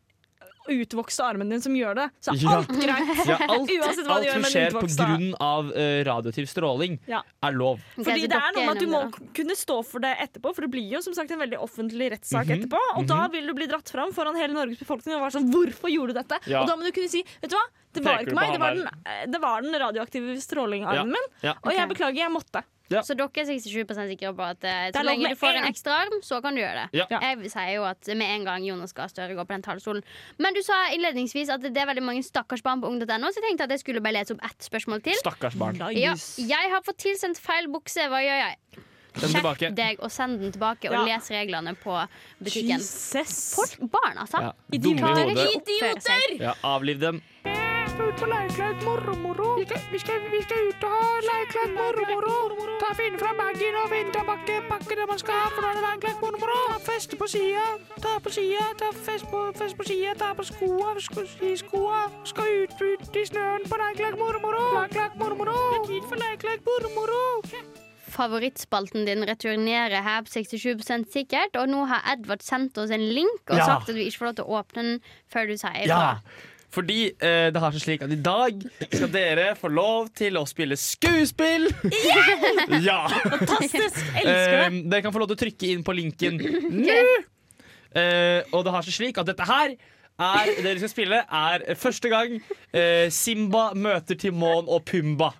[SPEAKER 1] utvokste armen din som gjør det, så er
[SPEAKER 2] Ja.
[SPEAKER 1] alt greit.
[SPEAKER 2] Ja, alt,
[SPEAKER 1] Uansett hva
[SPEAKER 2] alt
[SPEAKER 1] du gjør
[SPEAKER 2] som
[SPEAKER 1] med den
[SPEAKER 2] skjer på
[SPEAKER 1] utvokste.
[SPEAKER 2] grunn av eh, radioaktiv stråling,
[SPEAKER 1] Ja.
[SPEAKER 2] er lov.
[SPEAKER 3] Ok,
[SPEAKER 1] Fordi
[SPEAKER 3] så
[SPEAKER 1] det er
[SPEAKER 3] dere
[SPEAKER 1] noe med at du må
[SPEAKER 3] enige om det,
[SPEAKER 1] k- kunne stå for det etterpå, for det blir jo som sagt en veldig offentlig rettssak
[SPEAKER 2] Mhm,
[SPEAKER 1] etterpå. Og da vil du bli dratt fram foran hele Norges befolkning og være sånn 'hvorfor gjorde du dette?'
[SPEAKER 2] Ja.
[SPEAKER 1] Og da må du kunne si 'vet du hva, det var
[SPEAKER 2] Peker du
[SPEAKER 1] ikke
[SPEAKER 2] på
[SPEAKER 1] meg, det var,
[SPEAKER 2] han
[SPEAKER 1] den, eh, det var den radioaktive strålingarmen min',
[SPEAKER 2] Ja.
[SPEAKER 1] og jeg
[SPEAKER 3] Ok.
[SPEAKER 1] beklager, jeg måtte'.
[SPEAKER 2] Ja.
[SPEAKER 3] Så dere er 67 sikre på at eh,
[SPEAKER 1] Det er
[SPEAKER 3] så
[SPEAKER 1] lov
[SPEAKER 3] lenge du
[SPEAKER 1] med
[SPEAKER 3] får en
[SPEAKER 1] en.
[SPEAKER 3] ekstra arm, så kan du gjøre det.
[SPEAKER 2] Ja. Ja.
[SPEAKER 3] Jeg sier jo at med en gang Jonas Gahr Støre går på den talerstolen. Men du sa innledningsvis at det er veldig mange stakkars barn på ung.no, så jeg tenkte at jeg skulle bare lese opp ett spørsmål til.
[SPEAKER 2] Stakkars barn.
[SPEAKER 3] Ja, jeg har fått tilsendt feil bukse, hva gjør jeg?
[SPEAKER 2] Den tilbake.
[SPEAKER 3] deg og send den tilbake,
[SPEAKER 1] Ja.
[SPEAKER 3] og les reglene på butikken.
[SPEAKER 1] Jesus!
[SPEAKER 3] Folk, barn, altså.
[SPEAKER 2] Ja.
[SPEAKER 1] Idioter.
[SPEAKER 2] Dumme i hodet.
[SPEAKER 3] Oppføre seg.
[SPEAKER 2] Ja, avliv dem.
[SPEAKER 3] Favorittspalten din returnerer her på 67 sikkert, og nå har Edvard sendt oss en link og
[SPEAKER 2] Ja.
[SPEAKER 3] sagt at vi ikke får lov til å åpne den før du sier
[SPEAKER 2] Ja! Fordi eh, det har seg slik at i dag skal dere få lov til å spille skuespill. ja!
[SPEAKER 1] Fantastisk! Elsker det!
[SPEAKER 2] Eh, dere kan få lov til å trykke inn på linken nå. Eh, og det har seg slik at dette her er, det dere skal spille, er første gang eh, Simba møter Timon og Pumba.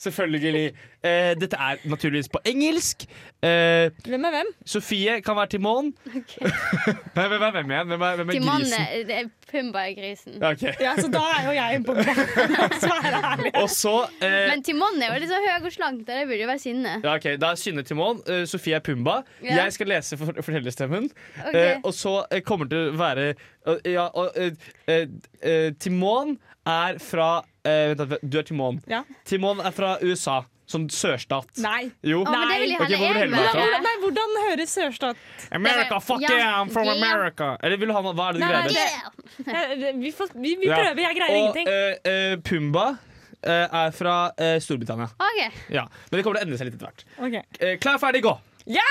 [SPEAKER 2] Selvfølgelig. Eh, dette er naturligvis på engelsk. Eh,
[SPEAKER 1] Hvem er hvem?
[SPEAKER 2] Sofie kan være Timon. Nei, hvem er hvem igjen? Hvem er, hvem er
[SPEAKER 3] Timon
[SPEAKER 2] grisen?
[SPEAKER 3] er- eh, det er Pumba er grisen.
[SPEAKER 1] eh.
[SPEAKER 2] Ja, ok.
[SPEAKER 1] Ja, så da er jo jeg en bombe. Så er det ærlig.
[SPEAKER 2] Og så eh,
[SPEAKER 3] Men Timon er jo litt så høy og slank, og det burde jo være sinne.
[SPEAKER 2] Ja, ok, Da er Synne Timon, uh, Sofie er Pumba.
[SPEAKER 3] Ja.
[SPEAKER 2] Jeg skal lese for fortellerstemmen.
[SPEAKER 3] Ok.
[SPEAKER 2] Eh, og så eh, kommer det til å være eh, Ja, og eh, eh, eh, Timon er fra eh, Vent, da, du er Timon.
[SPEAKER 1] Ja.
[SPEAKER 2] Timon er fra USA. Sånn sørstat.
[SPEAKER 1] Nei.
[SPEAKER 2] Jo.
[SPEAKER 3] Å, men det vil jeg
[SPEAKER 2] Ok,
[SPEAKER 3] heller
[SPEAKER 2] hvor vil du
[SPEAKER 3] være.
[SPEAKER 2] ha fra?
[SPEAKER 1] Hvordan, nei, hvordan høres sørstat
[SPEAKER 2] America, fuck
[SPEAKER 3] Ja.
[SPEAKER 2] yeah, I'm from
[SPEAKER 3] Yeah.
[SPEAKER 2] America. Eller vil du ha noe Hva er det du
[SPEAKER 1] Nei,
[SPEAKER 2] greier?
[SPEAKER 3] Yeah.
[SPEAKER 1] Jeg- Vi, får, vi, vi
[SPEAKER 2] Ja.
[SPEAKER 1] prøver, jeg greier
[SPEAKER 2] Og
[SPEAKER 1] ingenting.
[SPEAKER 2] eh, eh, Pumba eh, er fra eh, Storbritannia.
[SPEAKER 3] Ok.
[SPEAKER 2] Ja. Men det kommer til å endre seg litt etter hvert.
[SPEAKER 1] Ok.
[SPEAKER 2] Eh, klar, ferdig, gå!
[SPEAKER 1] Ja!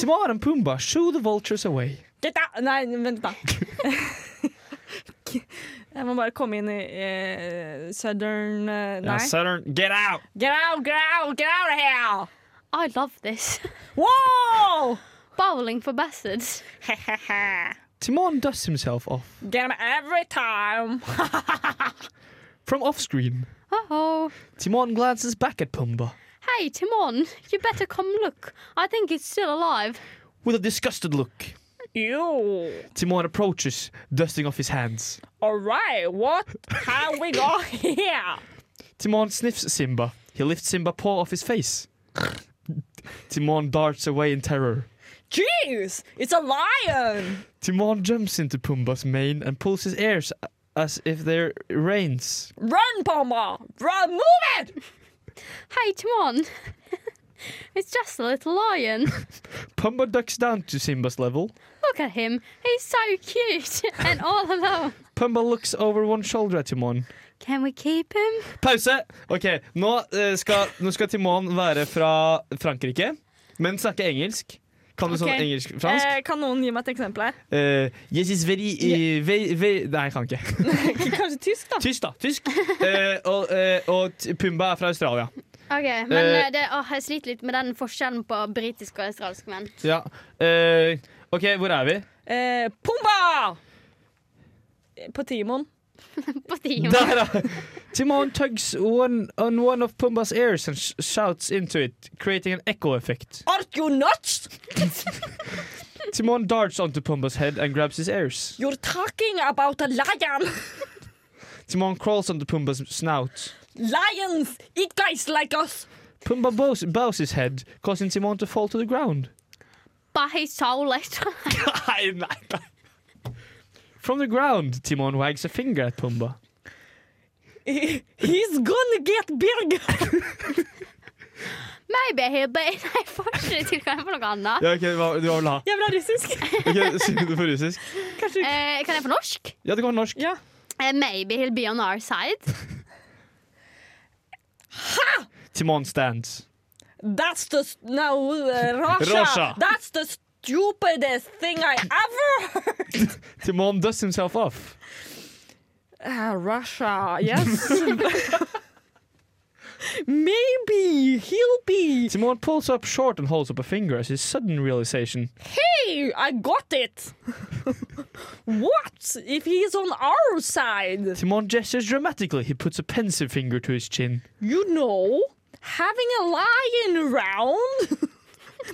[SPEAKER 2] Timon and Pumba, show the vultures away.
[SPEAKER 1] Dette Nei, vent, da. Jeg må bare komme inn i eh, southern eh,
[SPEAKER 2] Ja,
[SPEAKER 1] Nei.
[SPEAKER 2] Saturn, get out!
[SPEAKER 1] Get out, get out, get out of here!
[SPEAKER 3] I love this.
[SPEAKER 1] Wow!
[SPEAKER 3] Bowling for bastards.
[SPEAKER 2] Timon dusts himself off
[SPEAKER 1] Get him every time.
[SPEAKER 2] from off screen.
[SPEAKER 3] Oh, oh.
[SPEAKER 2] Timon glances back at Pumba
[SPEAKER 3] Hey, Timon, you better come look. I think it's still alive.
[SPEAKER 2] with a disgusted look.
[SPEAKER 1] You.
[SPEAKER 2] Timon approaches, dusting off his hands.
[SPEAKER 1] All right, what have we got here?
[SPEAKER 2] Timon sniffs Simba. He lifts Simba paw off his face. Timon darts away in terror.
[SPEAKER 1] Jeez, it's a lion.
[SPEAKER 2] Timon jumps into Pumba's mane and pulls his ears a- as if they're reins.
[SPEAKER 1] Run, Pumba. Run, move it.
[SPEAKER 3] Hey, Timon. it's just a little lion.
[SPEAKER 2] Pumba ducks down to Simba's level.
[SPEAKER 3] Look at him. He's so cute and all alone.
[SPEAKER 2] Pumba looks over one shoulder at Timon.
[SPEAKER 3] Can we keep him?
[SPEAKER 2] Pause! Ok, nå, eh, skal, nå skal Timon være fra Frankrike, men snakke engelsk. Kan du
[SPEAKER 1] Ok.
[SPEAKER 2] sånn engelsk-fransk?
[SPEAKER 1] Eh, kan noen gi meg et eksempel her?
[SPEAKER 2] Uh, yes, it's very, eh, ve- ve- Nei, jeg kan ikke.
[SPEAKER 1] Kanskje tysk, da?
[SPEAKER 2] Tysk, da. Tysk. Eh, og, eh, og t- Pumba er fra Australia.
[SPEAKER 3] Ok, men
[SPEAKER 2] Eh,
[SPEAKER 3] eh, det, åh, Jeg sliter litt med den forskjellen på britisk og australsk menn.
[SPEAKER 2] Ja. eh, OK, hvor er vi?
[SPEAKER 1] Eh, Pumba! På Timon.
[SPEAKER 3] På Timon.
[SPEAKER 2] Der, da! Timon tugs one, on one of Pumba's ears and sh shouts into it, creating an echo effect.
[SPEAKER 1] Are you nuts?
[SPEAKER 2] Timon darts onto Pumba's head and grabs his ears.
[SPEAKER 1] You're talking about a lion.
[SPEAKER 2] Timon crawls onto Pumba's snout.
[SPEAKER 1] Lions eat guys like us.
[SPEAKER 2] Pumba bows, bows his head, causing Timon to fall to the ground.
[SPEAKER 3] By soul later.
[SPEAKER 2] nei, nei, nei. From the ground, Timon wags a finger at Pumba.
[SPEAKER 1] He- He's gonna get big.
[SPEAKER 3] Maybe he'll be Nei, fortsett til hva er det for noe annet.
[SPEAKER 2] Ja, ok, du var, du var vel ha.
[SPEAKER 1] Jeg vil ha russisk.
[SPEAKER 2] Ok, Syng det på russisk.
[SPEAKER 1] Kanskje
[SPEAKER 3] Eh, kan jeg få norsk?
[SPEAKER 2] Ja, det kan være norsk.
[SPEAKER 1] Ja.
[SPEAKER 3] Eh, maybe he'll be on our side.
[SPEAKER 2] Timon stands.
[SPEAKER 1] That's the s- no uh, Russia.
[SPEAKER 2] Russia.
[SPEAKER 1] That's the stupidest thing I ever heard.
[SPEAKER 2] Timon dusts himself off.
[SPEAKER 1] Uh, Russia, yes. Maybe he'll be.
[SPEAKER 2] Timon pulls up short and holds up a finger as his sudden realization.
[SPEAKER 1] Hey, I got it. what if he's on our side?
[SPEAKER 2] Timon gestures dramatically. He puts a pensive finger to his chin.
[SPEAKER 1] You know having a lion round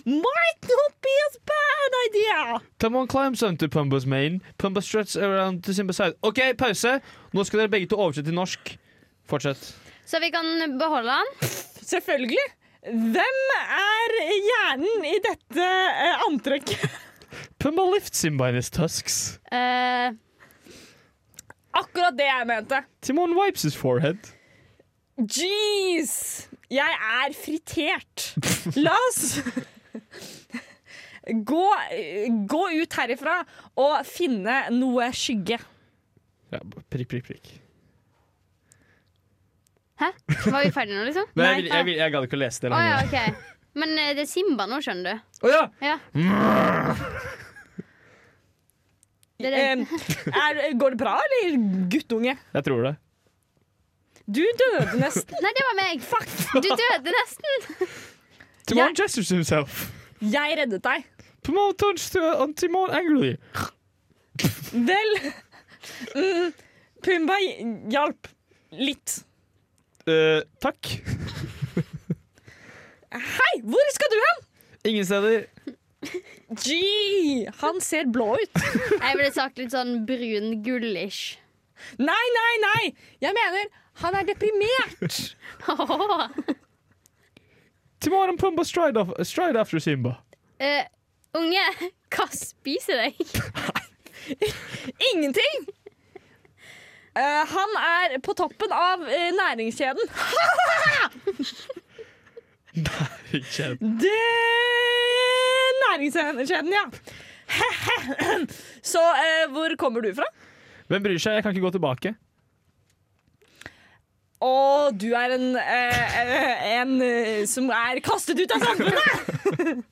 [SPEAKER 1] might not be as bad idea.
[SPEAKER 2] Someone climbs onto Pumbas main. Pumba struts around to Simba's side. OK, pause! Nå skal dere begge to oversette til norsk. Fortsett.
[SPEAKER 3] Så vi kan beholde den.
[SPEAKER 1] Selvfølgelig. Hvem er hjernen i dette eh, antrekket?
[SPEAKER 2] Pumba lifts Simba in his tusks.
[SPEAKER 3] Eh,
[SPEAKER 1] Akkurat det jeg mente.
[SPEAKER 2] Timon wipes his forehead.
[SPEAKER 1] Jeez! Jeg er fritert. La oss gå, gå ut herifra og finne noe skygge.
[SPEAKER 2] Ja, prikk, prikk, prikk.
[SPEAKER 3] hæ? Var vi ferdige nå, liksom?
[SPEAKER 2] Men jeg,
[SPEAKER 1] Nei.
[SPEAKER 2] vil, jeg, vil, jeg gadd ikke å lese det.
[SPEAKER 3] Å ja,
[SPEAKER 2] lenger.
[SPEAKER 3] OK. Men eh, det er Simba nå, skjønner du.
[SPEAKER 2] Å ja.
[SPEAKER 3] Ja. Det er det.
[SPEAKER 1] Eh, er, går det bra, eller, guttunge?
[SPEAKER 2] Jeg tror det.
[SPEAKER 1] Du døde nesten.
[SPEAKER 3] Nei, det var meg. Du døde nesten.
[SPEAKER 2] Timon
[SPEAKER 1] Jeg-
[SPEAKER 2] gestures himself.
[SPEAKER 1] Jeg reddet deg.
[SPEAKER 2] Timon turns to on Timon angrily.
[SPEAKER 1] Vel mm, Pumba hjalp litt.
[SPEAKER 2] Eh, takk.
[SPEAKER 1] Hei, hvor skal du hen?
[SPEAKER 2] Ingen steder.
[SPEAKER 1] Gee, han ser blå ut.
[SPEAKER 3] Jeg ville sagt litt sånn brun-gullish.
[SPEAKER 1] Nei, nei, nei! Jeg mener, han er deprimert.
[SPEAKER 2] Timon and Pumba stride, off, stride after Simba.
[SPEAKER 3] Eh, unge, hva spiser deg?
[SPEAKER 1] Ingenting! Eh, han er på toppen av eh, næringskjeden. Det Næringskjeden, ja. Så eh, hvor kommer du fra?
[SPEAKER 2] Hvem bryr seg? Jeg kan ikke gå tilbake.
[SPEAKER 1] Å, du er en eh, eh, En eh, som er kastet ut av samfunnet!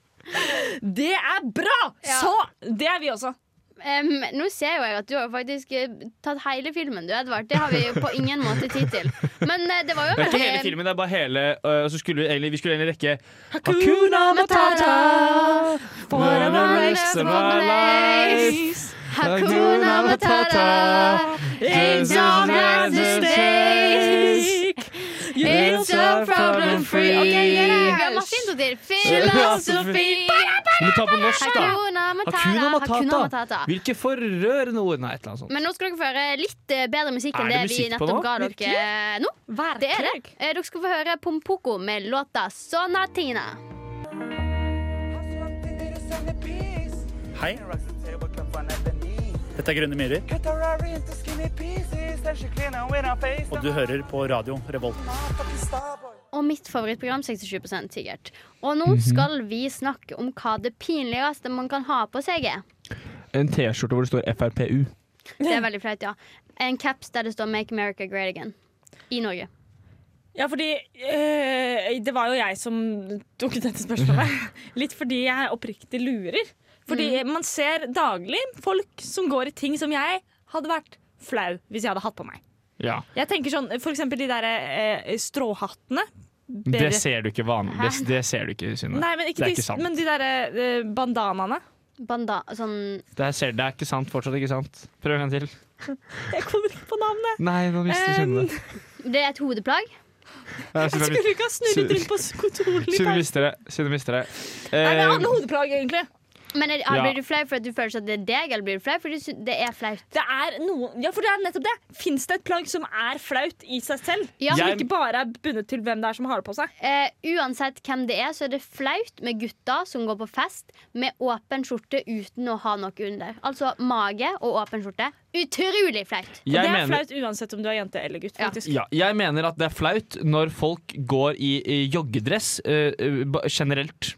[SPEAKER 1] Det er bra!
[SPEAKER 3] Ja.
[SPEAKER 1] Så Det er vi også.
[SPEAKER 3] Em, nå ser jo jeg at du har faktisk eh, tatt hele filmen, du, Edvard. Det har vi jo på ingen måte tid til. Men eh, det var jo
[SPEAKER 2] Det er ikke hele
[SPEAKER 3] veldig
[SPEAKER 2] filmen, det er bare hele øh, og så skulle vi, egentlig, vi skulle egentlig rekke
[SPEAKER 1] Hakuna Matata,
[SPEAKER 2] for
[SPEAKER 1] the rest
[SPEAKER 2] of our lives.
[SPEAKER 3] Hakuna Matata.
[SPEAKER 1] It's
[SPEAKER 2] all
[SPEAKER 1] all
[SPEAKER 2] man's mistake.
[SPEAKER 1] mistake.
[SPEAKER 2] It's a problem-free.
[SPEAKER 3] Ok, gi deg en masse intro til. Filosofi.
[SPEAKER 2] Du må ta på norsk, da.
[SPEAKER 3] Hakuna Matata.
[SPEAKER 2] Hakuna Matata.
[SPEAKER 3] Hakuna Matata.
[SPEAKER 2] Hvilke forrørende ord? Nei, et eller annet sånt.
[SPEAKER 3] Men nå skal dere få høre litt eh, bedre musikk enn
[SPEAKER 2] Er det
[SPEAKER 3] det vi
[SPEAKER 2] musikk på
[SPEAKER 3] nettopp
[SPEAKER 2] nå?
[SPEAKER 3] ga dere eh, nå. Det er det. Eh, Dere skal få høre Pompoko med låta Sonatina.
[SPEAKER 8] Hei, dette er Grønne Myhrer, og du hører på radio Revolt.
[SPEAKER 3] Og mitt favorittprogram 67 sikkert. Og nå
[SPEAKER 2] Mhm.
[SPEAKER 3] skal vi snakke om hva det pinligste man kan ha på seg er.
[SPEAKER 2] En T-skjorte hvor det står FrPU.
[SPEAKER 3] Det er veldig flaut, ja. En caps der det står 'Make America Great Again'. I Norge.
[SPEAKER 1] Ja, fordi eh, det var jo jeg som tok dette spørsmålet. Litt fordi jeg oppriktig lurer. Fordi
[SPEAKER 2] Mm.
[SPEAKER 1] man ser daglig folk som går i ting som jeg hadde vært flau hvis jeg hadde hatt på meg.
[SPEAKER 2] Ja.
[SPEAKER 1] Jeg tenker sånn, For eksempel de der eh, stråhattene.
[SPEAKER 2] Det
[SPEAKER 1] Bedre-
[SPEAKER 2] ser du ikke vanlig. Det, det ser du ikke, Synne.
[SPEAKER 1] Nei, men ikke,
[SPEAKER 2] det er
[SPEAKER 1] de,
[SPEAKER 2] ikke sant.
[SPEAKER 1] Men de der eh, bandanaene.
[SPEAKER 3] Banda sånn
[SPEAKER 2] Det, her ser, det er ikke sant fortsatt, ikke sant? Prøv en gang til.
[SPEAKER 1] Jeg kommer ikke på navnet.
[SPEAKER 2] Nei, nå mister Synne det.
[SPEAKER 3] Det er et hodeplagg.
[SPEAKER 2] Ja,
[SPEAKER 1] Jeg
[SPEAKER 2] Synne-
[SPEAKER 1] skulle ikke ha snurret rundt på kontoret litt
[SPEAKER 2] Synne
[SPEAKER 1] her.
[SPEAKER 2] mister det. Synne mister det.
[SPEAKER 1] Nei, men
[SPEAKER 2] Eh,
[SPEAKER 1] alle hodeplagg, egentlig.
[SPEAKER 3] Men er,
[SPEAKER 2] Ja.
[SPEAKER 3] blir du flau fordi du føler at det er deg, eller blir du flau fordi du sy- det er flaut?
[SPEAKER 1] Det er noen, ja, for det er nettopp det. Fins det et plagg som er flaut i seg selv?
[SPEAKER 3] Ja.
[SPEAKER 1] Som
[SPEAKER 2] Jeg-
[SPEAKER 1] ikke bare er bundet til hvem det er som har det på seg?
[SPEAKER 3] Eh, uansett hvem det er, så er det flaut med gutter som går på fest med åpen skjorte uten å ha noe under. Altså mage og åpen skjorte. Utrolig flaut.
[SPEAKER 1] Og det
[SPEAKER 2] jeg
[SPEAKER 1] er
[SPEAKER 2] mener
[SPEAKER 1] flaut uansett om du er jente eller gutt.
[SPEAKER 3] Ja.
[SPEAKER 1] faktisk.
[SPEAKER 2] ja, jeg mener at det er flaut når folk går i, i joggedress eh, eh, ba- generelt.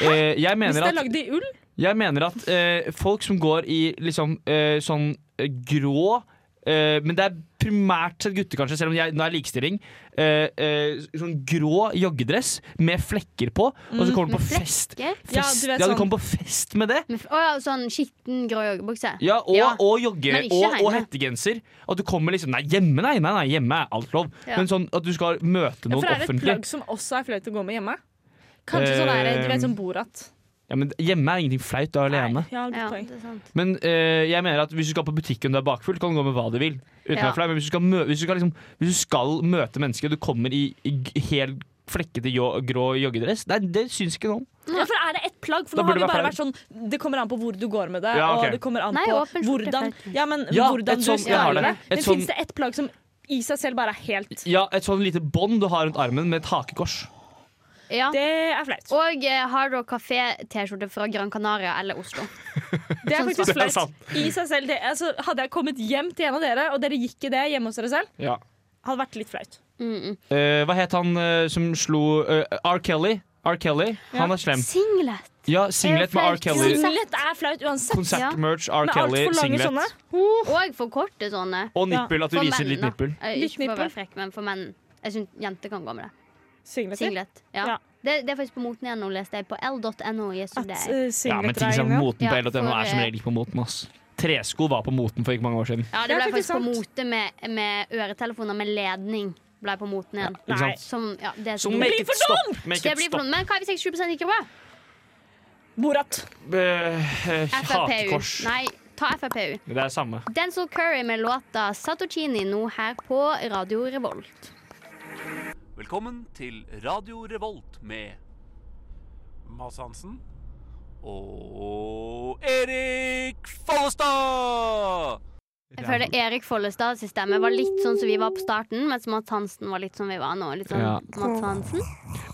[SPEAKER 2] Eh, jeg,
[SPEAKER 1] Hvis
[SPEAKER 2] mener
[SPEAKER 1] det er
[SPEAKER 2] at,
[SPEAKER 1] lagd i ull.
[SPEAKER 2] jeg mener at eh, folk som går i liksom eh, sånn eh, grå eh, Men det er primært sett gutter, kanskje, selv om jeg, nå er likestilling. eh, eh, sånn grå joggedress med flekker på, og så kommer du på
[SPEAKER 3] Med
[SPEAKER 2] fest.
[SPEAKER 3] flekker.
[SPEAKER 2] fest.
[SPEAKER 1] Mhm, Ja, du vet
[SPEAKER 2] ja, du
[SPEAKER 1] sånn.
[SPEAKER 2] kommer på fest med det.
[SPEAKER 3] Med fl- Å ja, sånn skitten grå joggebukse.
[SPEAKER 2] Ja, og,
[SPEAKER 3] Ja.
[SPEAKER 2] og jogge
[SPEAKER 3] Men ikke
[SPEAKER 2] og, og
[SPEAKER 3] hjemme.
[SPEAKER 2] hettegenser. At du kommer liksom Nei, hjemme nei, nei, nei hjemme er alt lov.
[SPEAKER 3] Ja.
[SPEAKER 2] Men sånn at du skal møte
[SPEAKER 1] Ja,
[SPEAKER 2] noen
[SPEAKER 1] for er det et
[SPEAKER 2] offentlig.
[SPEAKER 1] plagg som også er flaut å gå med hjemme? Kanskje sånn er det, du vet, sånn Borat.
[SPEAKER 2] Ja, men Hjemme er ingenting flaut, du er alene.
[SPEAKER 1] Nei, Ja,
[SPEAKER 3] Ja,
[SPEAKER 1] godt poeng.
[SPEAKER 3] det er sant.
[SPEAKER 2] Men eh, jeg mener at hvis du skal på butikken og du er bakfull, kan du gå med hva du vil. Uten å
[SPEAKER 3] Ja.
[SPEAKER 2] være flau. Men hvis du skal, mø hvis du skal, liksom, hvis du skal møte mennesker, og du kommer i, i g- helt flekkete jo- grå joggedress. Nei, det syns ikke noen.
[SPEAKER 1] Ja, for er det ett plagg? For
[SPEAKER 2] Da
[SPEAKER 1] nå har
[SPEAKER 2] burde
[SPEAKER 1] vi
[SPEAKER 2] det
[SPEAKER 1] bare
[SPEAKER 2] være
[SPEAKER 1] vært sånn Det kommer an på hvor du går med det,
[SPEAKER 2] Ja, ok.
[SPEAKER 1] og det kommer an
[SPEAKER 3] Nei,
[SPEAKER 1] på
[SPEAKER 3] åpen skjorte
[SPEAKER 1] hvordan
[SPEAKER 3] faktisk.
[SPEAKER 1] Ja, men
[SPEAKER 2] Ja, et
[SPEAKER 1] hvordan du
[SPEAKER 2] sånt- jeg har det.
[SPEAKER 1] styler det.
[SPEAKER 2] Et
[SPEAKER 1] Men
[SPEAKER 2] sånn-
[SPEAKER 1] fins det ett plagg som i seg selv bare er helt
[SPEAKER 2] Ja, et sånn lite bånd du har rundt armen med et hakekors.
[SPEAKER 3] Ja.
[SPEAKER 1] Det er flaut.
[SPEAKER 3] Og eh, Hard Rock Café-T-skjorte fra Gran Canaria eller Oslo.
[SPEAKER 1] Det er
[SPEAKER 3] Sånn
[SPEAKER 2] svart.
[SPEAKER 1] faktisk
[SPEAKER 2] Det er
[SPEAKER 1] flaut. I seg selv. Det, altså, hadde jeg kommet hjem til en av dere, og dere gikk i det hjemme hos dere selv, hadde vært litt flaut.
[SPEAKER 3] Mm -mm.
[SPEAKER 2] Eh, hva het han eh, som slo eh, R. Kelly? R. Kelly, Han er slem.
[SPEAKER 3] Singlet.
[SPEAKER 2] Ja, Singlet med R.
[SPEAKER 3] Helt
[SPEAKER 2] Kelly.
[SPEAKER 3] Konsert.
[SPEAKER 1] Singlet er flaut uansett.
[SPEAKER 2] Konsertmerch, R.
[SPEAKER 1] Med
[SPEAKER 2] Kelly,
[SPEAKER 1] altfor lange
[SPEAKER 2] singlet.
[SPEAKER 1] sånne.
[SPEAKER 3] Og for korte sånne.
[SPEAKER 2] Og nippel, at du
[SPEAKER 3] For
[SPEAKER 2] viser
[SPEAKER 3] menn,
[SPEAKER 2] litt
[SPEAKER 3] da.
[SPEAKER 2] nippel.
[SPEAKER 3] Eh,
[SPEAKER 1] Litt
[SPEAKER 3] Ikke for å være
[SPEAKER 1] nippel.
[SPEAKER 3] frekk, men for menn. Jeg syns jenter kan gå med det.
[SPEAKER 1] Singlet.
[SPEAKER 3] Singlet. Ja.
[SPEAKER 1] Ja.
[SPEAKER 3] Det, det er faktisk på moten igjen nå, leste jeg. På l.no. i
[SPEAKER 1] At
[SPEAKER 3] Sunday.
[SPEAKER 1] eh, singlet
[SPEAKER 2] Ja, men ting
[SPEAKER 1] er
[SPEAKER 2] som
[SPEAKER 1] inne,
[SPEAKER 2] er
[SPEAKER 1] ja.
[SPEAKER 2] moten på
[SPEAKER 3] Ja,
[SPEAKER 2] ja, LTM
[SPEAKER 3] for,
[SPEAKER 2] er som
[SPEAKER 3] eh,
[SPEAKER 2] regel ikke på moten, ass. Tresko var på moten for ikke mange år siden.
[SPEAKER 3] Ja,
[SPEAKER 1] Det
[SPEAKER 3] det
[SPEAKER 1] er
[SPEAKER 3] ble
[SPEAKER 1] faktisk
[SPEAKER 3] faktisk på
[SPEAKER 1] sant.
[SPEAKER 3] mote med, med øretelefoner med ledning. Ble på moten igjen.
[SPEAKER 2] Ikke
[SPEAKER 1] Nei.
[SPEAKER 2] sant?
[SPEAKER 3] Som, ja, det er så
[SPEAKER 2] Så
[SPEAKER 3] dumt.
[SPEAKER 2] make it stop! Make
[SPEAKER 3] det
[SPEAKER 2] it
[SPEAKER 3] blir for
[SPEAKER 2] stop.
[SPEAKER 3] dumt. Men hva er hvis 60 ikke bra?
[SPEAKER 1] Borat.
[SPEAKER 2] Eh, eh,
[SPEAKER 3] FrPU.
[SPEAKER 2] Hakekors.
[SPEAKER 3] Nei, ta FrPU.
[SPEAKER 2] Det er samme.
[SPEAKER 3] Denzil Curry med låta 'Satochini' nå her på Radio Revolt.
[SPEAKER 9] Velkommen til Radio Revolt med Mads Hansen og Erik Follestad!
[SPEAKER 3] Jeg føler Erik Follestads stemme var litt sånn som vi var på starten, mens Mads Hansen var litt som vi var nå. Litt sånn
[SPEAKER 2] Ja.
[SPEAKER 3] Mads Hansen.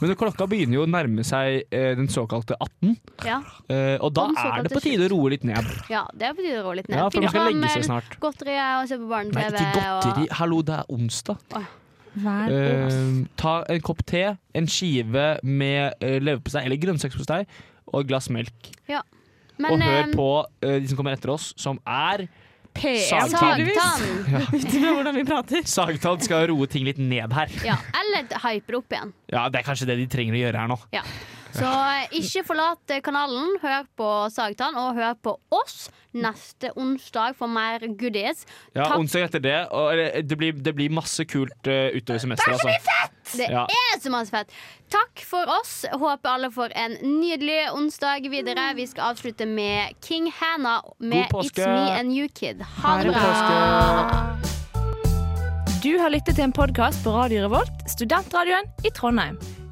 [SPEAKER 2] Men klokka begynner jo å nærme seg eh, den såkalte 18,
[SPEAKER 3] Ja.
[SPEAKER 2] eh, og da
[SPEAKER 3] Den såkalte
[SPEAKER 2] er det på tide å roe litt ned.
[SPEAKER 3] ja, det er på tide å roe litt ned.
[SPEAKER 2] Ja, for
[SPEAKER 3] Finne
[SPEAKER 2] man skal
[SPEAKER 3] fram,
[SPEAKER 2] legge seg
[SPEAKER 3] eh,
[SPEAKER 2] snart.
[SPEAKER 3] Godteriet og se på
[SPEAKER 2] Nei,
[SPEAKER 3] barne-TV.
[SPEAKER 2] ikke godteri.
[SPEAKER 3] og-
[SPEAKER 2] Hallo, det er onsdag.
[SPEAKER 1] Vær
[SPEAKER 2] Eh, ta en kopp te, en skive med eh, leverpostei eller grønnsakspostei og et glass melk.
[SPEAKER 3] Men,
[SPEAKER 2] og hør
[SPEAKER 3] eh,
[SPEAKER 2] på eh, de som kommer etter oss, som er
[SPEAKER 1] PM,
[SPEAKER 2] Sagtann.
[SPEAKER 1] tydeligvis.
[SPEAKER 3] Sagtann.
[SPEAKER 1] Vet du hvordan vi prater?
[SPEAKER 2] Sagtann skal roe ting litt ned her.
[SPEAKER 3] Ja, eller hype det opp igjen.
[SPEAKER 2] Ja, Det er kanskje det de trenger å gjøre her nå.
[SPEAKER 3] Så eh, ikke forlat eh, kanalen. Hør på Sagtann, og hør på oss neste onsdag for mer goodies.
[SPEAKER 2] Ja,
[SPEAKER 3] Takk.
[SPEAKER 2] Onsdag etter det. Og eh, det blir, det blir masse kult eh, utover semesteret. Altså.
[SPEAKER 3] Det
[SPEAKER 2] Ja.
[SPEAKER 3] er så masse fett! Takk for oss. Håper alle får en nydelig onsdag videre. Vi skal avslutte med King Hannah med
[SPEAKER 2] God påske.
[SPEAKER 3] It's Me and You Kid. Ha det bra.
[SPEAKER 10] Du har lyttet til en podkast på Radio Revolt, studentradioen i Trondheim.